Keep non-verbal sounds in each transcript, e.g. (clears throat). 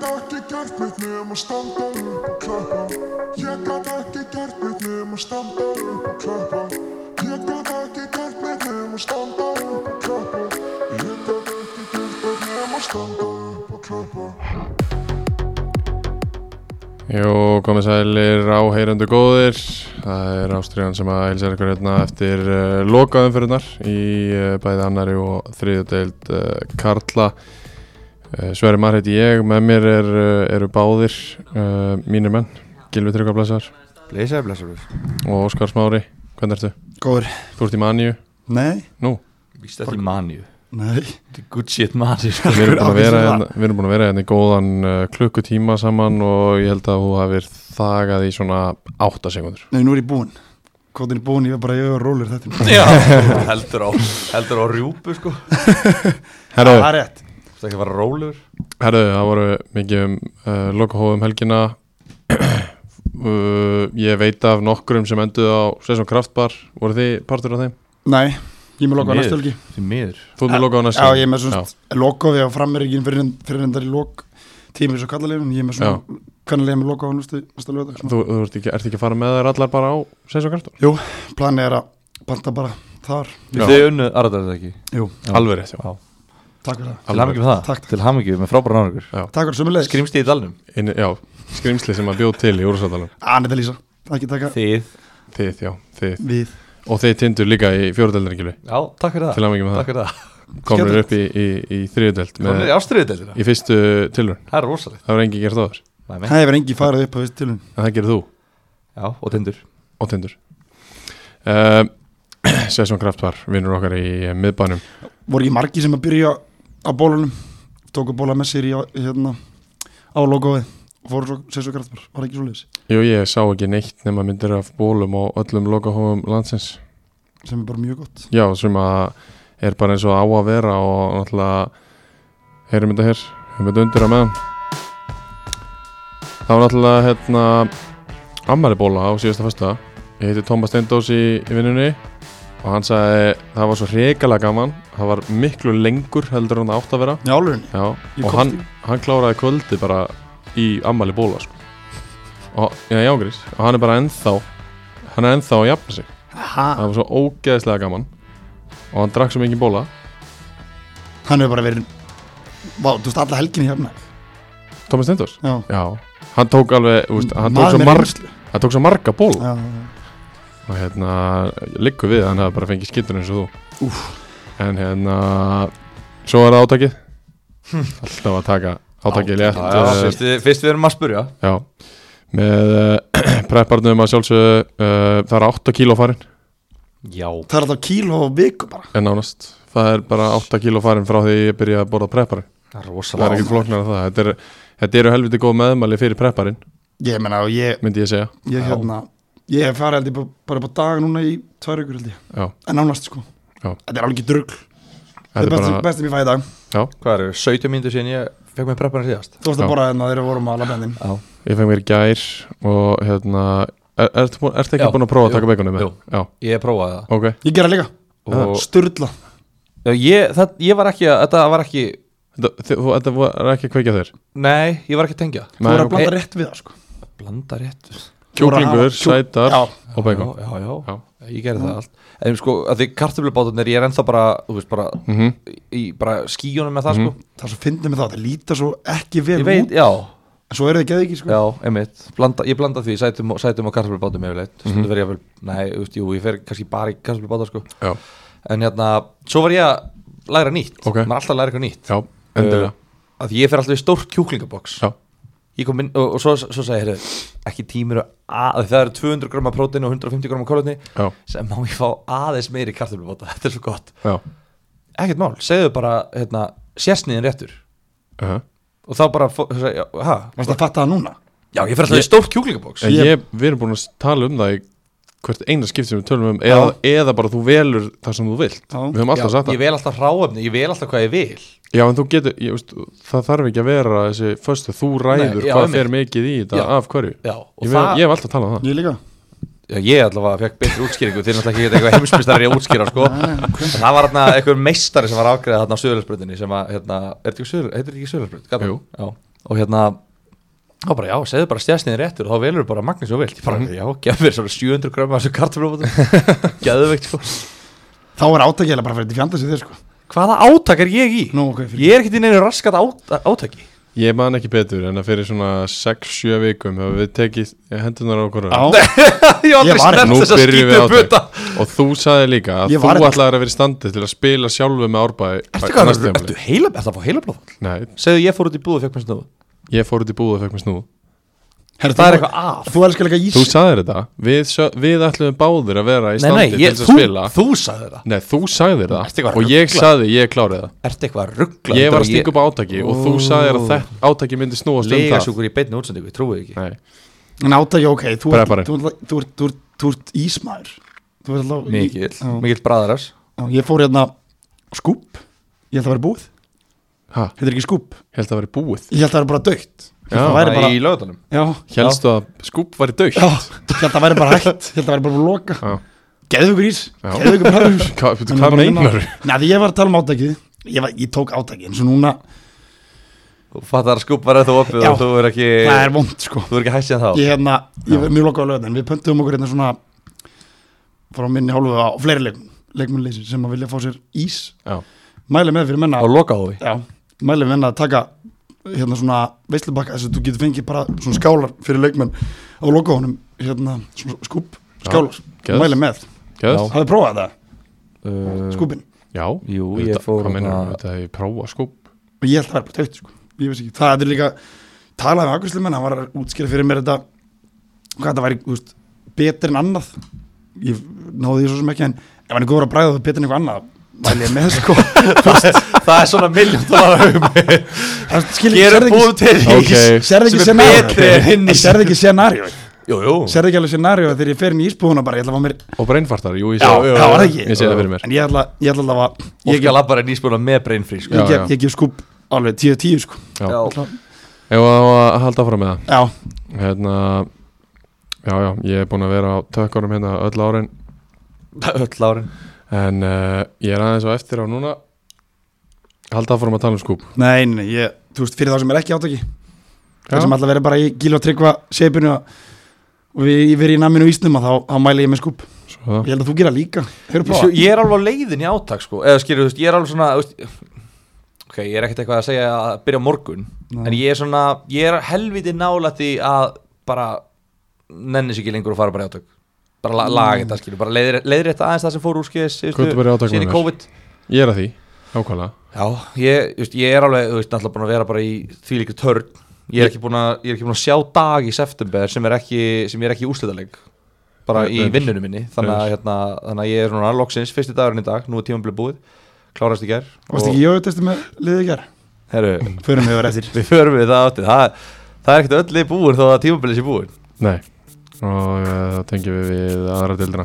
gert neitt nema standa upp og klappa Ég gat ekki gert neitt nema standa upp og klappa Ég gat ekki gert neitt nema standa upp og klappa Ég gat ekki gert neitt nema standa upp og klappa Jú, komið sælir áheyrandu góðir Það er Ástriðan sem að hilsa ykkur hérna eftir uh, lokaðumfyrirnar í uh, bæði annari og þriðudeild uh, Karla uh, Sverri Mar heiti ég, með mér er, uh, eru báðir uh, mínir menn Gilvi Tryggablasar Blessaður, blessaður og Óskar Smári, hvernig ertu? Góður Þú ert í maníu, Nei, nú, Víst þetta í manju nei Þetta er good shit sko. manju (laughs) við erum búin að vera, Ávísun hérna, við erum búin að vera hérna í góðan uh, klukkutíma saman og ég held að þú hafir þagað í svona 8 sekundur Nei, nú er ég búinn Kvotin er búinn, ég er bara ég og rólur þetta Já, heldur á, heldur á rjúpu sko Herðu, Það er rétt Það ekki að fara rólur Herðu, það voru mikið um uh, lokahóðum helgina (clears throat) uh, Ég veit af nokkrum sem enduðu á Sessum Kraftbar Voru þið partur af þeim? Nei, ég er með lokað Miður. næstu helgi Því miður Þú erum með lokahóðum Já, næstu ég er með svona lokað við á frammerikinn fyrir, fyrir endar í lok tími eins og kallalegin Ég er með svona hvernig leiðum við lokað á næstu, næstu lögða Þú, þú ert, ekki, ert ekki að fara með þær allar bara á Sessum Kraftbar? Jú, planið er að panta bara þar Já. Þið unnu aðræðar þetta ekki Jú, Já. Alveg rétt, já takk fyrir það Til hamingju með um það Til hamingju Takk, takk. með frábæra náður Takk fyrir sömulegis Skrif Skrimsti í dalnum Inn, já, skrimsli sem að bjóð til í úrsatalum Annetta Lísa, ekki taka Þið Þið, já, þið við Og þið tindur líka í fjóruðeldaringjölu Já, takk fyrir það Til að mikið með Takk það fyrir það Komur upp í, í, í þriðudeld Komum við í ástriðudeldina Í fyrstu tilrun Það er rosalegt Það var engi gert áður Nei, nei. Það hefur engi farið upp á þessu tilum En það gerir þú Já, og tindur og tindur (clears throat) uh, Sessjón Kraft var vinnur okkar í eh, miðbænum voru ekki margi sem að byrja á bólunum tóku bóla með sér í á- hérna, á logoið og fóru svo sér svo kraftbar, var ekki svo leiðis Jú, ég sá ekki neitt nema myndir af bólum og öllum lokahófum landsins sem er bara mjög gott Já, sem að er bara eins og á að vera og náttúrulega heyrum þetta hér, heyrum þetta undir að meðan Það var náttúrulega hérna ammæli bóla á síðasta fyrsta Ég heiti Tómas Steindós í, í vinnunni og hann sagði það var svo hrikalega gaman það var miklu lengur heldur en það átt að vera Já, álurinn, Já, Ég og komst hann, í. hann kláraði kvöldi bara í ammali bóla sko. og, já, já, grís, og hann er bara ennþá hann er ennþá að jafna sig það ha, var svo ógeðslega gaman og hann drakk svo mikið bóla hann hefur bara verið Vá, þú veist alla helginni hérna Thomas Stendos Já, já, hann tók alveg úst, hann, tók Maður svo með marg, reynslu. hann tók svo marga bóla Já, já. og hérna, liggur við að hann hefði bara fengið skittur eins og þú Úff. en hérna svo er það átakið alltaf að taka átakið létt Já, eh, fyrst við- Fyrst við erum að spurja Já, með uh, (clears throat) prepparnum að sjálfsögðu uh, það er 8 kíló farin Já það er alltaf kíló á viku bara en nánast, það er bara 8 kíló farin frá því ég byrjaði að borða prepparin Það er það er rosalegt ekki flóknar að það, þetta, er, þetta eru helviti góð meðmæli fyrir prepparin, Ég meina, og ég, myndi ég segja ég Já. hérna Ég hef farið held ég bara- bara upp á dag núna í tvær vikur held ég Já, En nánast sko Já. Þetta er alveg ekki drugl Þetta þetta er er best, bara, best sem ég fæði í dag Hvað eru 17 mínútur síðan ég fekk mér prepparinn síðast Þú varst Já. að borða hérna þegar við vorum að labendin Já ég fengi mér í gær og hérna er, ertu, búin, ertu ekki Já, búin að prófa að jú, taka beikonið með? jú. Já, Ég prófaði það ok, Ég gera líka, Og sturla Já, ég, það, ég var ekki að, þetta var ekki þetta, þið- þú, þetta var ekki að kveikja þér Nei, ég var ekki að tengja Þú Nei, er að ok. blanda rétt við það sko Blanda rétt Kjúklingur, Kjú- sætar Já, og beikon já, já, Já. ég gerði það allt En sko, að því kartöflubátunir, ég er ennþá bara, þú veist, bara mm Í bara skíjónum með það, það er svo fyndið með það, það lítar svo ekki vel sko Ég Mhm. veit, út já, En svo eru þið geðið ekki sko já, einmitt blanda, Ég blanda því, sætum, og- sætum og kartöflubátum yfirleitt mm Mhm. -hmm. Stundum fer ég vel, nei, þú veist, jú, ég fer kannski bara í kartöflubáta, sko Já, En hérna, svo var ég að læra nýtt Ok. Maður er alltaf að læra eitthvað nýtt já, endilega Að því ég fer alltaf í stórt kjúklingaboks Já, ég kom inn og, og svo, svo sagði heyrðu, ekki tímur að það eru 200 gramma prótein og 150 gramma kólutni já, sem má ég fá aðeins meiri kartöflubóta (laughs) þetta er svo gott, já ekkert mál segðu bara, hérna, sérsniðin réttur uh -huh. og þá bara, fó- sagði, já, ha, Varst það að fatta það núna? já, ég fyrir alltaf í stórt kjúklingabóks En Ég- ég, við erum búin að tala um það í hvert eina skipt sem við tölum um eða, eða bara þú velur það sem þú vilt Já. Við höfum alltaf sagt ég það vel alltaf hráefni, ég vel alltaf hvað ég vil Já, en þú getur, ég, veist, það þarf ekki að vera þessi föstu, þú ræður Nei, já, hvað einmitt. fer mikið í þetta Já. af hverju já, og Ég, það, það... ég hef alltaf talað um það Ég líka Já, ég allavega fekk betri útskýringu þeir náttúrulega ekki geta eitthvað heimsmyndstari að útskýra sko. En það var hérna eitthvað meistari sem var afgreðað þarna á Suðurlandsbröndinni sem að, hérna, er þetta ekki Suður, heitir þetta ekki Suðurlandsbrönd? Jú. Já, og hérna þá bara já, segðu bara stjæsnið réttur og þá velur bara Magnús og vilt, ég bara já, gefur þér svona 700 gröma þessu kartaflófatum geðveikt sko Þá er átækilega bara fyrir þetta fjandasi þér sko hvaða átak er ég í? Nú, ok, fyrir ég er ekkert í neinu raskat át átaki (laughs) Ég man ekki betur en að fyrir svona 6-7 vikum hefur við tekið hendunar á okkur Á, ég hef Ég aldrei var- Nú snert þess að byrjum við á skýta upp þetta og þú sagði líka að Ég þú var ekki- ætlaðir að vera í standi til að spila sjálfu með árbæði Ertu hvað, ertu, ertu heila, ertu að fá heila blóðfall? Nei, Segðu ég fór út í búð og fekk mér snúð ég fór út í búð og fekk mér snúð herri, Það er þú- eitthvað af Þú elskar líka ís Þú sagðir þetta, við, sö- við ætluðum báðir að vera í Nei, nei, standi til ég, þess þú, að spila þú sagði það Nei, þú sagðir Ertu eitthvað það og ég ruglað? sagði ég klárið það Ertu eitthvað að ruggla Ég var að stinga upp á átaki og þú sagðir að þetta átaki myndi snúast um Lega það sjúkur í beinni útsendingu, ég trúi ekki Nei, En átæki, ok, þú ert- Preparinn. þú ert- þú ert- þú ert- þú ert ísmaður Þú ert alltaf Mikill, Já. mikill bræðarars Já, Ég fór hérna skúp Ég held að vera búið ha, Þetta er ekki skúp held að vera búið Ég held að vera bara dögt Já, Það væri bara Í lögutunum Já, Hélstu að skúp var í daukt já Ég held að væri bara hægt Ég held að væri bara búið að loka Já. Geðu ykkur ís Já. Geðu ykkur bræður Hva, veitu, Hvað meinar þú? Nei, því ég var að tala um átakið Ég, var, ég tók átakið eins og núna Þú fattar að skúp var eða þú opið Já. og þú er ekki Eh, Það er vond, sko Þú er ekki hægt síðan þá Ég hérna, ég var mjög lokað á löðin Við pöntum okkur hérna svona Frá minni hálfu á fleiri leikmenn Leikmenn leysir sem að vilja fá sér ís Já. Mæli með fyrir menna Og loka á því Já, mælum við henni að taka hérna svona veislubakka þess að þú getur fengið bara svona skálar fyrir leikmenn á loka honum, hérna svona skúp skálar, geðs. mælum með Geðs? hafið prófað það, Uh, skúpin Já, Jú, ég auðvitað, fór Hvað meinar hérna- þú? Þetta er prófa skúp og ég held að það er bara taugt, sko, ég veist ekki það er líka, talaði með akkurslu menn hann var að útskýra fyrir mér þetta hvað þetta væri, þú veist, betur en annað ég náði því svo sem ekki en ef hann er góður að bræða það betur en eitthvað annað mæli ég með (laughs) sko Það er svona um miljón dólar hugmið Það skilur- Gerum sérðu ekki- búð til Ok. sérðu ekki sem er betri en scenario- hinn. Nei, sérðu ekki scenario Jú, jú Serðu ekki alveg scenario þegar ég fer inn í ísbúðuna bara, ég ætla að fá mér Og breinfartar, jú, ég Já, sé það var það ekki. Ég sé það fyrir mér En ég ætla, ég ætla alveg að Ég Ég ekki að gef, labba bara nýspuna með breinfrí sko. Já, ég gef, já. ég gef skúb alveg 10-10 sko Já. Ætla- Ef að að halda áfram með það Já, Hérna Já, já, ég er búin að vera á tökkarum hérna öll árin Öll árin En uh, ég er aðeins á eftir á núna Halda áfram að tala um skúp nei, nei, ég, þú veist, fyrir þá sem er ekki átaki Já. Það sem ætla að vera bara í gíl og tryggva seipinu og við ég verið í naminu í ísnum að þá, þá mæli ég með skúb Svo það Ég held að þú gera líka, hefur Svo, prófað ég er alveg á leiðin í átak sko eða skilur þú veist, ég er alveg svona þú veist, ok, ég er ekkert eitthvað að segja að byrja á morgun Nei. en ég er svona, ég er helviti nálætt í að bara nenni sér ekki lengur og fara bara í átak bara la, laga þetta skilur, bara leiðir, leiðir þetta aðeins það sem fór úr skeiðis Komdu bara í átak síðan með mér. í COVID Ég er að því, ákvæmlega já, ég, þú veist, ég er alveg, þú veist, náttúrulega búin að vera bara í því líka törn ég er ekki búin að, ég er ekki búin að sjá dag í september sem er ekki, sem ég er ekki úslitaleg bara í Reyndar. vinnunum minni þannig að, hérna, þannig að ég er núna loksins fyrsti dagurinn í dag, nú er tímann bleið búið klárast í ger Varst ekki ég auðvitaðstu með liðið ger? Heru, Förum við að vera eftir við förum við það áttið það, það er ekkert öll í búin þó að tímabilið sé búin Nei og uh, það tengjum við við aðra dildina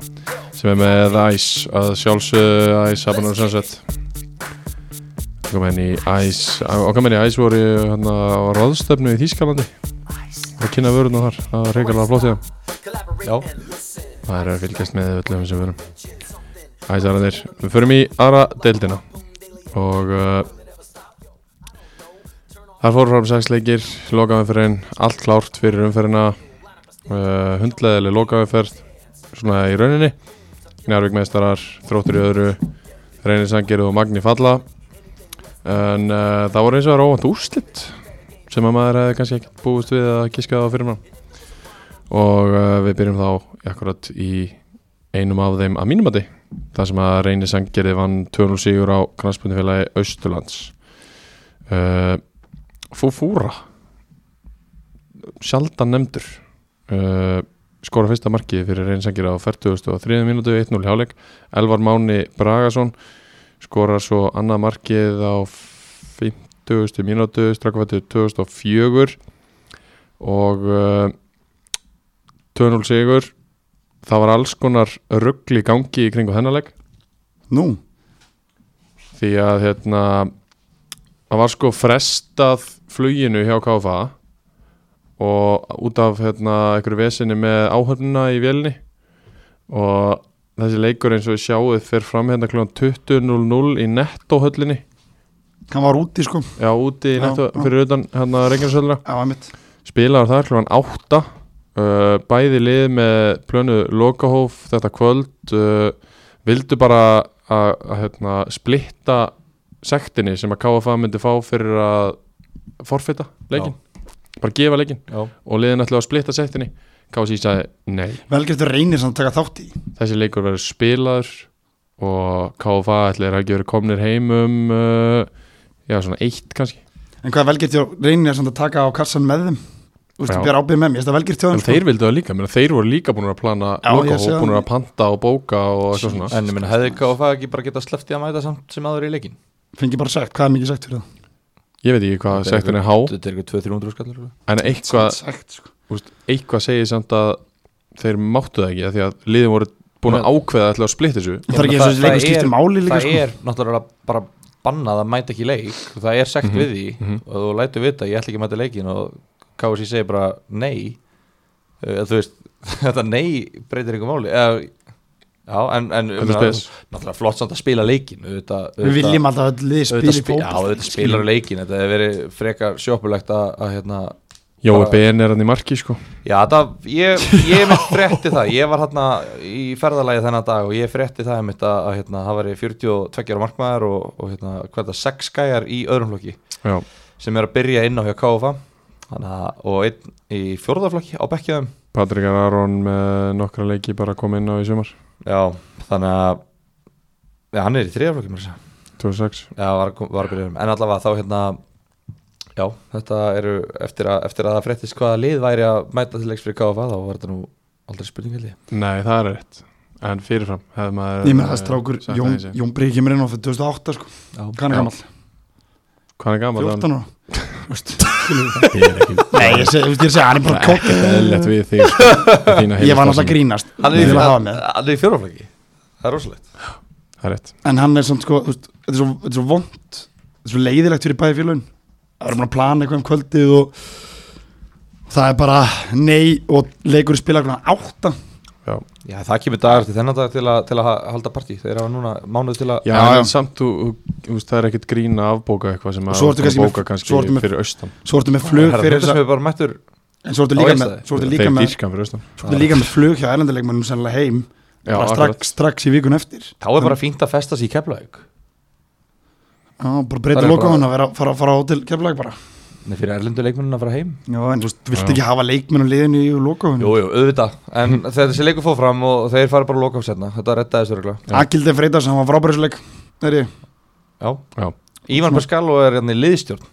sem er með Ice að sjálfsögðu Ice Habanur Sunset kom henni í Ice okkar menni Ice voru hérna á ráðstöfnu í Þýskalandi og kynna vöruna þar, það var reyngarlega flott í það já, það er að fylgjast með öllum sem vörum Ice aðrandir, við förum í aðra dildina og uh, þar fóru fram sex leikir lokaðanferðin, allt klárt fyrir umferðina uh, hundleðileg lokaðanferð svona í rauninni Njárvík meistarar, þróttur í öðru Reynir Sangir og Magni Falla en uh, það voru eins og það róvant úrslit sem að maður hefði kannski ekki búist við að giska á fyrir maður og uh, við byrjum þá akkurat í einum af þeim að mínumati þar sem að Reynir Sangeri vann 2-0 sigur á knarspunnifélagi Austurlands uh, Fúfúra sjaldan nefndur uh, skora fyrsta markið fyrir reynsangir á 43. mínútu 1-0 hjáleik Elvar Máni Bragason skora svo annað markið á 50. mínútu strakkvættu 2004 og uh, 2-0 sigur það var alls konar ruggli gangi í kringu þennaleg Nú, því að hérna það var sko frestað fluginu hjá KFA og út af hérna einhverju vesinni með áhörnuna í vélni og þessi leikur eins og við sjáuð fyrir fram hérna kl. 20.00 í nettóhöllinni hann var úti sko já úti í Já, nettó já. fyrir utan hérna reyngjörnsöllina Já, mitt spilaður þar klukkan 8 uh, bæði lið með plönu lokahóf þetta kvöld uh, vildu bara að, að hérna, splitta sektinni sem að KFA myndi fá fyrir að forfita leikin, bara gefa leikin Já. og liðin ætlaði að splitta sektinni KFC sagði nei, velgertur reynir samt að taka þátt í þessi leikur verður spilaður og KFA ætlaði að gera komnir heim um uh, já, svona eitt kannski en hvað velgertur reynir samt að taka á kassan með þeim Úst, Já. bera ábyrð með mér, ég veist að velgertur En þeir vildu það líka, menn, þeir voru líka búin að plana Já, loka ég sé og búin það. að panta og bóka og eitthvað svona En ég minna, hefði KFA ekki bara getað sleppt í að mæta samt sem aður í leikin? fengi bara sagt, hvað er mikið sagt fyrir það Ég veit ekki hvað sektin er há Þetta er eitthvað 200-300 skallur En eitthvað, sagt, sko. úst, eitthvað segir samt að þeir máttu það ekki af Því að liðin voru búin að ákveða ætla að splitta þessu það er ekki Ég meina, þess að það- leikur það er- skiptir máli líka Það sko. er náttúrulega bara bannað að mæta ekki í leik Það er Mhm, sekt við því og þú lætur vita ég ætla ekki að mæta í leikin og KFC segir bara nei eða þú veist, (laughs) þetta nei breytir einhver máli eða, Já, en, en um, Þetta er spes. náttúrulega flott samt að spila leikin auðvitað, við auðvitað- viljum alltaf að liði auðvitað spila í spi- Já, fótboll auðvitað spilar leikin Þetta hefur verið frekar sjópulegt að, að hérna, Jói Bara- Ben er hann í marki sko Já, það, ég, ég mitt frétti það Ég var hérna í ferðalagi þennan dag og ég frétti það einmitt að, að hérna, það væri 42 ára markmaður og, og hérna, hvað er það, 6 gæjar í öðrum flokki Já, sem er að byrja inn á hjá KFA Þannig að, og einn í fjórðaflokki á bekkjaðum Patrik Aron með nokkra leiki bara kom inn á í sumar Já, þannig að Já, hann er í þriðaflokki mér að segja 2006 Já, var, var að byrja um En allavega þá hérna Já, þetta eru eftir að, eftir að það fréttist hvaða lið væri að mæta til leiks fyrir KFA þá var þetta nú aldrei spurning held ég Nei, það er rétt En fyrirfram hefði maður ég með það eh, strákur, sagt Jón, það í sig. Jón Brík kemur inn á fyrir 2008 sko, hann er Já. gammal Hvað er gammal? 14 ára Veist, skilur við það. Nei, Nei, ég segi, þú veist, ég segi, hann er bara kokk Lett við þig sko, með þína (laughs) Ég var náttúrulega að heilstarfsemi. grínast hann Ég er, vil í- hann, hafa hann með. hann er í fjóraflöki það er rosalegt Það er rétt En hann er samt sko, þú veist, þetta er svo, þetta er svo vond Þetta er svo leiðilegt fyrir bæði félagin Það er búin að plana eitthvað um kvöldið og Það er bara nei og leikur í spila klukkan átta Já, já, það kemur dagar til þennan dag til að, til að ha- halda partí þeir hafa núna mánuð til að já, Já, já. en samt þú, þú- þú veist, það er ekkert grín að afbóka eitthvað sem Og að svo ertu að kannski með- bóka kannski svo ertu með- fyrir austan Svo ertu með flug Herra, fyrir þetta sem þess er bara mættur En svo á ertu líka Egilsstaði. með Svo ertu líka Þeir með, dýrkan fyrir austan svo ertu líka með flug hjá erlendileikmannum sennilega heim Já, bara akkurat. strax, strax í vikun eftir Já, þá er bara fínt að festa sig í keflaug bara Það breyta er loka bara- hann að vera, fara, fara á til keflag bara Nei, fyrir erlendu leikmennin að fara heim Já, en þú veist, þú vilt Já. ekki hafa leikmenn og liðinu í loka hann jú, jú, auðvitað en (laughs) þegar þessi leikur fór fram og þeir fara bara að loka á setna þetta rettaði sér regla Akildi Freitas, hann var frábærisleik Það er ég já Já, Ívan Pascal er hérna í liðstjórn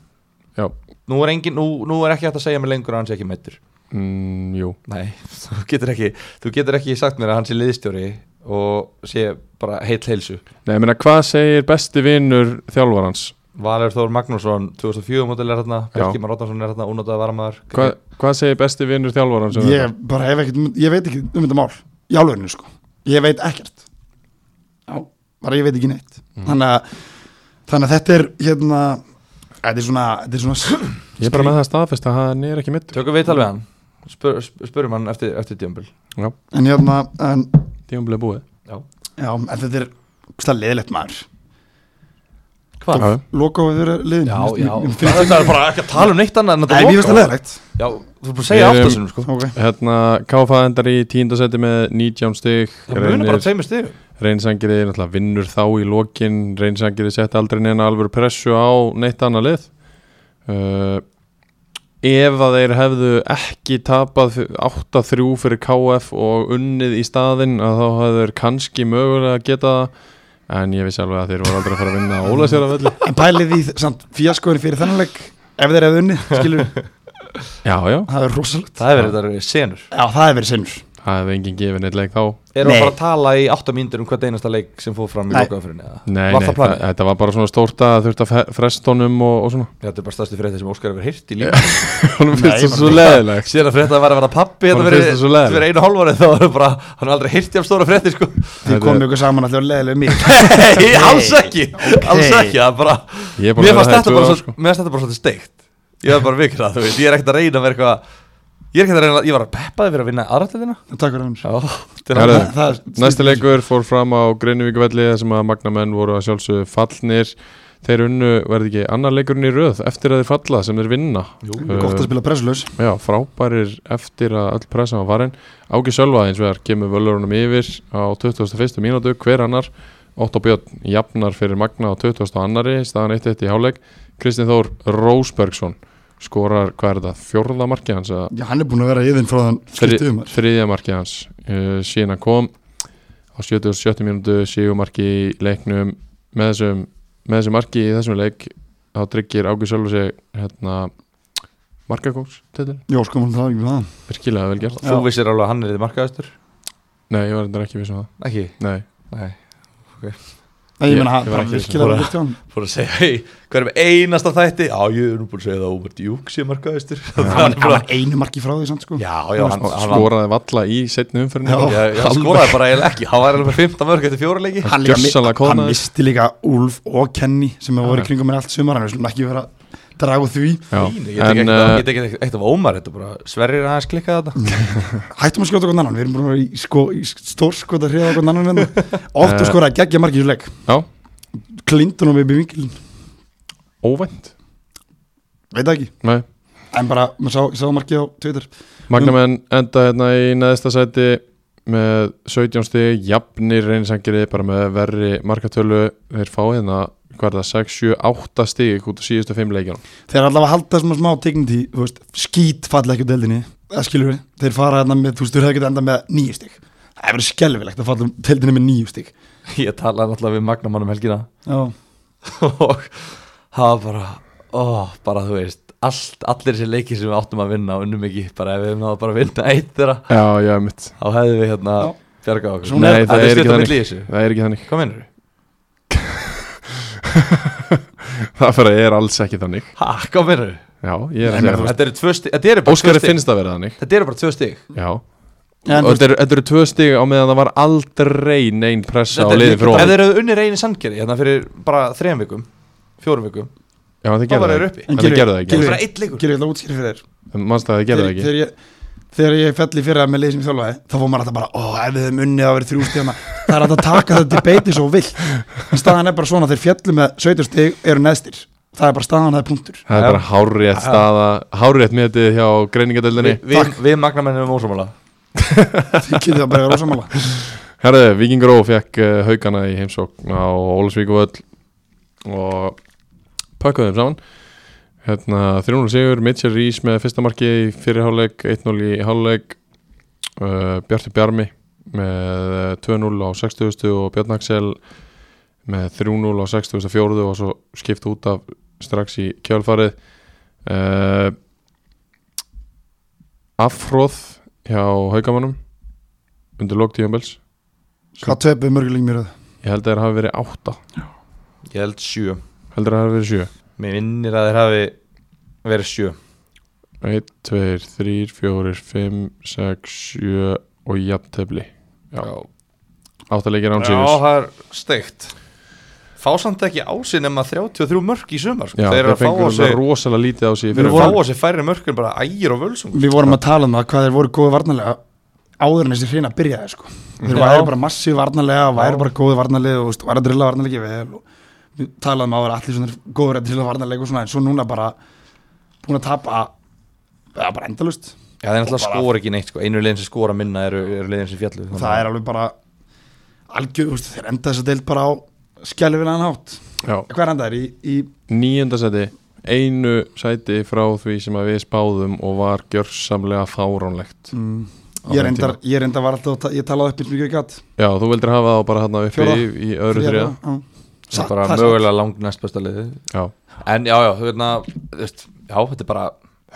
já, nú er, engin, nú, nú er ekki hægt að segja mig lengur að hann sé ekki meittur mm, jú Nei, (laughs) þú getur ekki þú getur ekki sagt mér að hann sé liðstjóri og sé bara heill heilsu Nei, ég meina, hvað segir besti vinnur þjálfarans? Valur Þór Magnússon 2004 mótil er hérna, Já. Björki Már Róttarsson er hérna Unótaði Varmaðar Hva, hvað segir besti vinnur þjálfarans? um ég þetta? bara hef ekkert ég veit ekki um þetta mál í álverðinu sko ég veit ekkert já, bara ég veit ekki neitt Mm. þannig, að, þannig að þetta er hérna þetta er svona, þetta er svona ég er bara með það staðfest að hann er ekki mitt Tökum við tal við hann Spur, sp- Spurum hann eftir, eftir djömbil Já, en hérna en, tíumlega búið Já. já, en þetta er slag leðilegt maður Hvað? Já, já. loka á við verið liðin Já, Mér já finnst- mér Það er bara ekki að tala um neitt annað en finnst- nei, mér finnst það leðilegt Já, þú er bara að segja Við erum- aftasunum sko ok, Hérna, KFA endar í tíundasetti með 19 stig Það munir bara Reynir- tveimur stigum reynsangiri náttúrulega vinnur þá í lokin reynsangiri setti aldrei neina alvöru pressu á neitt annað lið uh, ef að þeir hefðu ekki tapað fyr- 8-3 fyrir KF og unnið í staðinn að þá hefðu þeir kannski mögulega geta það en ég vissi alveg að þeir voru aldrei að fara að vinna á Ólasjara velli en pælið því samt fíaskoðin fyrir þennan leik ef þeir hefðu unni, skilur já, já, það er rosalegt Það er verið þetta eru senur já, það er verið sinnur það hefði enginn gefið neitt leik þá Erum við Nei. bara að tala í 8 mínútur um hvert einasta leik sem fóð fram í Nei. lokaðanfyrinni nei, Var nei, það planið? þetta var bara svona stórta þurft að fe- frestunum og, og (laughs) svona Þetta er bara stærsti frétti sem Óskar hefur heyrt í líka honum Nei, finnst það bara- svo leðilegt Sér að frétta var að vera pappi Þetta Honum verið finnst það svo leiðilegt. þetta verið einu hálfarið Þá er bara, hann er aldrei heyrt í af stóra frétti sko þið komum ykkur saman allir leðilega mér (laughs) Nei, alls ekki Alls ekki, það er bara Ég er búin að Mér vera það í tvö fannst þetta bara ár, svo- sko. mér fannst þetta bara svolítið steikt Ég var bara vikra, þú veist, ég er ekkert að reyna með eitthvað Ég er ekkert að reyna, ég var að peppaði fyrir að vinna aðrættiðina takk fyrir hann Já, Herðu, Það- það er- næsti leikur fór fram á Greinvíkvelli þar sem að magnamenn voru að sjálfsögðu fallnir þeir unnu, verði ekki, annar leikurinn í röð eftir að þeir falla sem þeir vinna Jú, Uh, gott að spila pressulaus já, frábærir eftir að öll pressa var farin Áki Sölva eins vegar kemur völurunum yfir á 21. mínútu hver annar, Otto Björn jafnar fyrir Magna á 22. annari staðan 1-1 í háleik, Kristinn Þór Rósbergsson skorar hvað er þetta, fjórða markið hans eða Já, hann er búin að vera yfinn frá þann skiptið um þriðja markið hans uh, síðan hann kom á 77 mínútu sígumarki í leiknum með þessum, með þessum marki í þessum leik þá tryggir Águr Sölva sig hérna markakóks titil, Já, sko, maður það er ekki með það virkilega vel gert Þú Já. vissir alveg að hann er þið markaðastur nei, ég var þetta ekki við sem það Ekki, nei, nei Nei, Ég- ég meina, ég hann var bara ekki viss. um virkilega vel gert hjá hann Fór að segja, hei, hver er með einasta þætti Já, ég er nú búin að segja það að Ómar Djúk sé markaðastur (laughs) Hann hann var einu marki frá því, samt sko Já, já, og hann, hann, hann, skoraði valla í setni umferðinu Já. já, já, hann skoraði bara eiginlega ekki Hann var alveg með 15 mörg eftir fjóra leiki Hann, líka, gjörsamlega mi- hann kóðnaður. misti líka Úlf og Kenny sem hefur Já, voru já. í kringum mér allt sumar hann er svona ekki verið að draga úr því Já. Mínu, Ég tek en ekkert uh, ég tek ekkert eitt af Ómar Þetta er bara sverrir að hans klikka þetta Hættum að skjóta okkur annan, við erum búin að vera í, sko, í stórskot að hriða okkur annan hérna (laughs) Eh. Óttu skora geggja marki í þessu leik já, Clinton og Bibi Vinkilin, óvænt veit það ekki nei En bara, maður sá, ég sá markið á Twitter Magnamenn enda hérna í neðsta sæti með 17 stig, jafnir reynsangirði bara með verri markatölu þeir fá hérna, hvað er það, 6, 7, 8 stig út á síðustu 5 leikjunum Þeir er allavega að halda svona smá dignity, þú veist, skít falla ekki úr deildinni, það skilur við, þeir fara hérna með, þú veist, þeir hefði getið enda með nýju stík. Það hefur skelvilegt að falla úr deildinni með nýju stík. Ég talaði náttúrulega við Magnamann um helgina (laughs) Já, og það var bara ó, bara þú veist allt, allir þessi leikir sem við áttum að vinna og unnum ekki bara ef við hefum náða bara að vinna eitt þeirra Já, já, mitt þá hefðum við hérna Já. bjargað okkur Svona Nei, er- það er er stutt ekki á þannig milli í þessu. Það er ekki (laughs) þannig hvað mennur þú? Það fyrir er alls ekki þannig Ha, hvað mennur þú? Já, ég er að Nei, segja það Þetta eru tvö stig Þetta eru bara tvö Óskari stig finnst það vera þannig Þetta eru bara tvö stig Já Og en þú veist, þetta eru- þetta eru tvö stig á meðan það var aldrei neinn pressa á Þetta er- liði frá Ef þeir eru unni reyni sandgerði hérna fyrir bara þrejum vikum fjórum vikum Já, það þá gerðu var það þeir ekki uppi En En það Gylfi- gerðu það ekki Gylfi- bara eitt leikur gerir þetta útskýrið fyrir þér. Manst að það gerðu það Þegar- ekki Þegar ég, þegar ég felli fyrir það með leið sem ég þjálfaði, þá fór maður alltaf bara, ó, ef við hefum unnið að vera þrjú stíðana, það er alltaf að taka þetta debeiti svo vill. En staðan er bara svona, þeir fjallu með 17 stíg, eru neðstir. Það er bara staðan, það er punktur. Það er Já. bara hárétt staða, hárétt metið hjá greiningadöldinni. Við- Við, við magnamennum ósámála Þið getur það bara að vera ósamála. Herðu, Vikingur Ó fekk uh, haugana í heimsókn á Ólasvíkuvöll og pökkuðu þeim saman hérna 300 sigur, Mitchell Rís með fyrsta marki í fyrirháleik, 1-0 í háleik uh, Bjartur Bjarmi með eh, 2-0 á 60 og Bjarn Axel með 3-0 á 64 og svo skipt út af strax í kjálfarið uh, Afróð hjá haugamannum undir lók tíumbels Hvað töpuðu mörguleik mér að? Ég held að það hafi verið átta Ég held sjö Heldur að það hafi verið sjö Mér vinnir að þeir hafi verið sjö 1, 2, 3, 4, 5, 6, 7 og jafntefli Já. Átta leikir án Já, síðus það er steikt Fá samt ekki á sig nema 33 mörk í sumar sko. Já, Þeir þeir eru að fá á fengur sig sig... rosalega lítið á sig Við fyrir Fá voru... á sig færri mörk en bara ægir og sko. völsung við vorum að tala um það hvað þeir voru góði varnarlega áður en þessi hreina byrjaði sko. þeir Já. væri bara massíf varnarlega og væri Já. bara góði varnarlega og veist, var að drilla varnarlega vel og við talaðum að vera allir svona góður að drilla varnarlega og svona en svo núna bara búin að tapa eða bara endalust Já, þeir náttúrulega skora ekki neitt sko. Einu liðin sem skora minna eru, eru liðin sem fjallu það er alveg bara algjör, veist, þeir enda þess að deilt bara á skjálfilegan hátt Já, hvað er enda þeir í, í nýjönda seti Einu sæti frá því sem að við spáðum og var gjörsamlega fáránlegt mm, Á ég þeim reyndar, ég reyndar var alltaf að ta- ég talaði upp eins mikið og ég gat Já, þú vildir hafa það bara hérna uppi Fjórða. í, í öðru þriða Já. Það Satt, er bara það er satt. mögulega langt næst besta liði Já, En já, já, hérna, þú veitna veist, Já, þetta er bara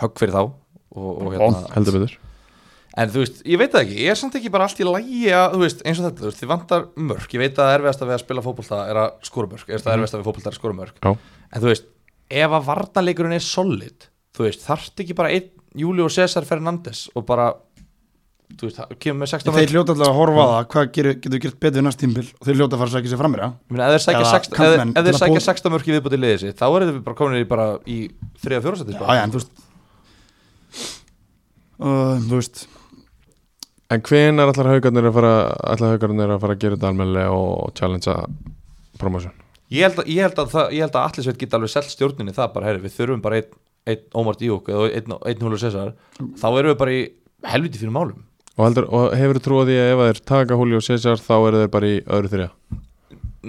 högg fyrir þá og, og, hérna. heldur betur En þú veist, ég veit það ekki Ég er samt ekki bara allt í lægi að, þú veist, eins og þetta þú veist, Þið vantar mörk, ég veit að erfiðasta við að spila fótbolta er að skora mörk, er það erfiðasta við fótbolta er að skora mörk Já, en þú veist, ef að varnarleikurinn er solid, þú veist, þarft ekki bara einn Júli og César Fernández og bara, þú veist, það kemur með 16 Þeir hljóta allavega að horfa að það, hvað getur, getur gert betur næst tímbil og þeir hljóta að fara að sækja sér framir, já? Ég meina, ef þeir sækja Eða 16 ef- kantmenn ef til þeir að sækja búa- 16 mörk í viðbúti liðið sitt, þá eru þau bara komin í bara í þriða fjórasætti Já, já, en þú veist, uh, þú veist, En hvenær ætlar haugarnir að fara ætlar haugarnir að fara að gera þetta almennilega og challengea promotion? ég held, að- ég held að, það- ég held að Atlisveit geta alveg selt stjórninni það bara, herri, við þurfum bara einn ein, Ómar Díók eða einn ein Húlu César þá erum við bara í helviti fyrir málum Og, heldur, og hefur þú trúið því að ef að þeir taka Julio César þá eru þeir bara í öðru þrjá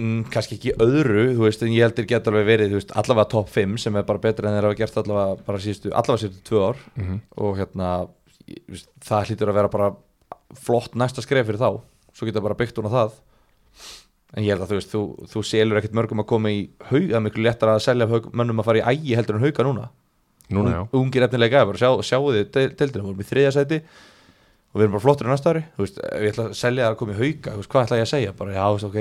mm, kannski ekki öðru, þú veist, en ég held þeir geta alveg verið, þú veist, allavega top 5 sem er bara betra en þeir hafa gert allavega bara síðustu, allavega síðustu tvö ár og hérna, ég- þú veist, það hlýtur að vera bara flott næsta skref fyrir þá svo geta bara byggt hún á það en ég held að þú veist, þú, þú selur ekkert mörgum að koma í hauga, miklu lettar að selja haug, mönnum að fara í ægi heldur en hauga núna Núna já, ungir efnilega gæði, bara sjá, sjáu þið deildina, vorum í þriðja sæti og við erum bara flottir í næsta ári, þú veist, ef ég ætla að selja það að koma í hauka, þú veist, hvað ætla ég að segja bara, já, þú veist, ok,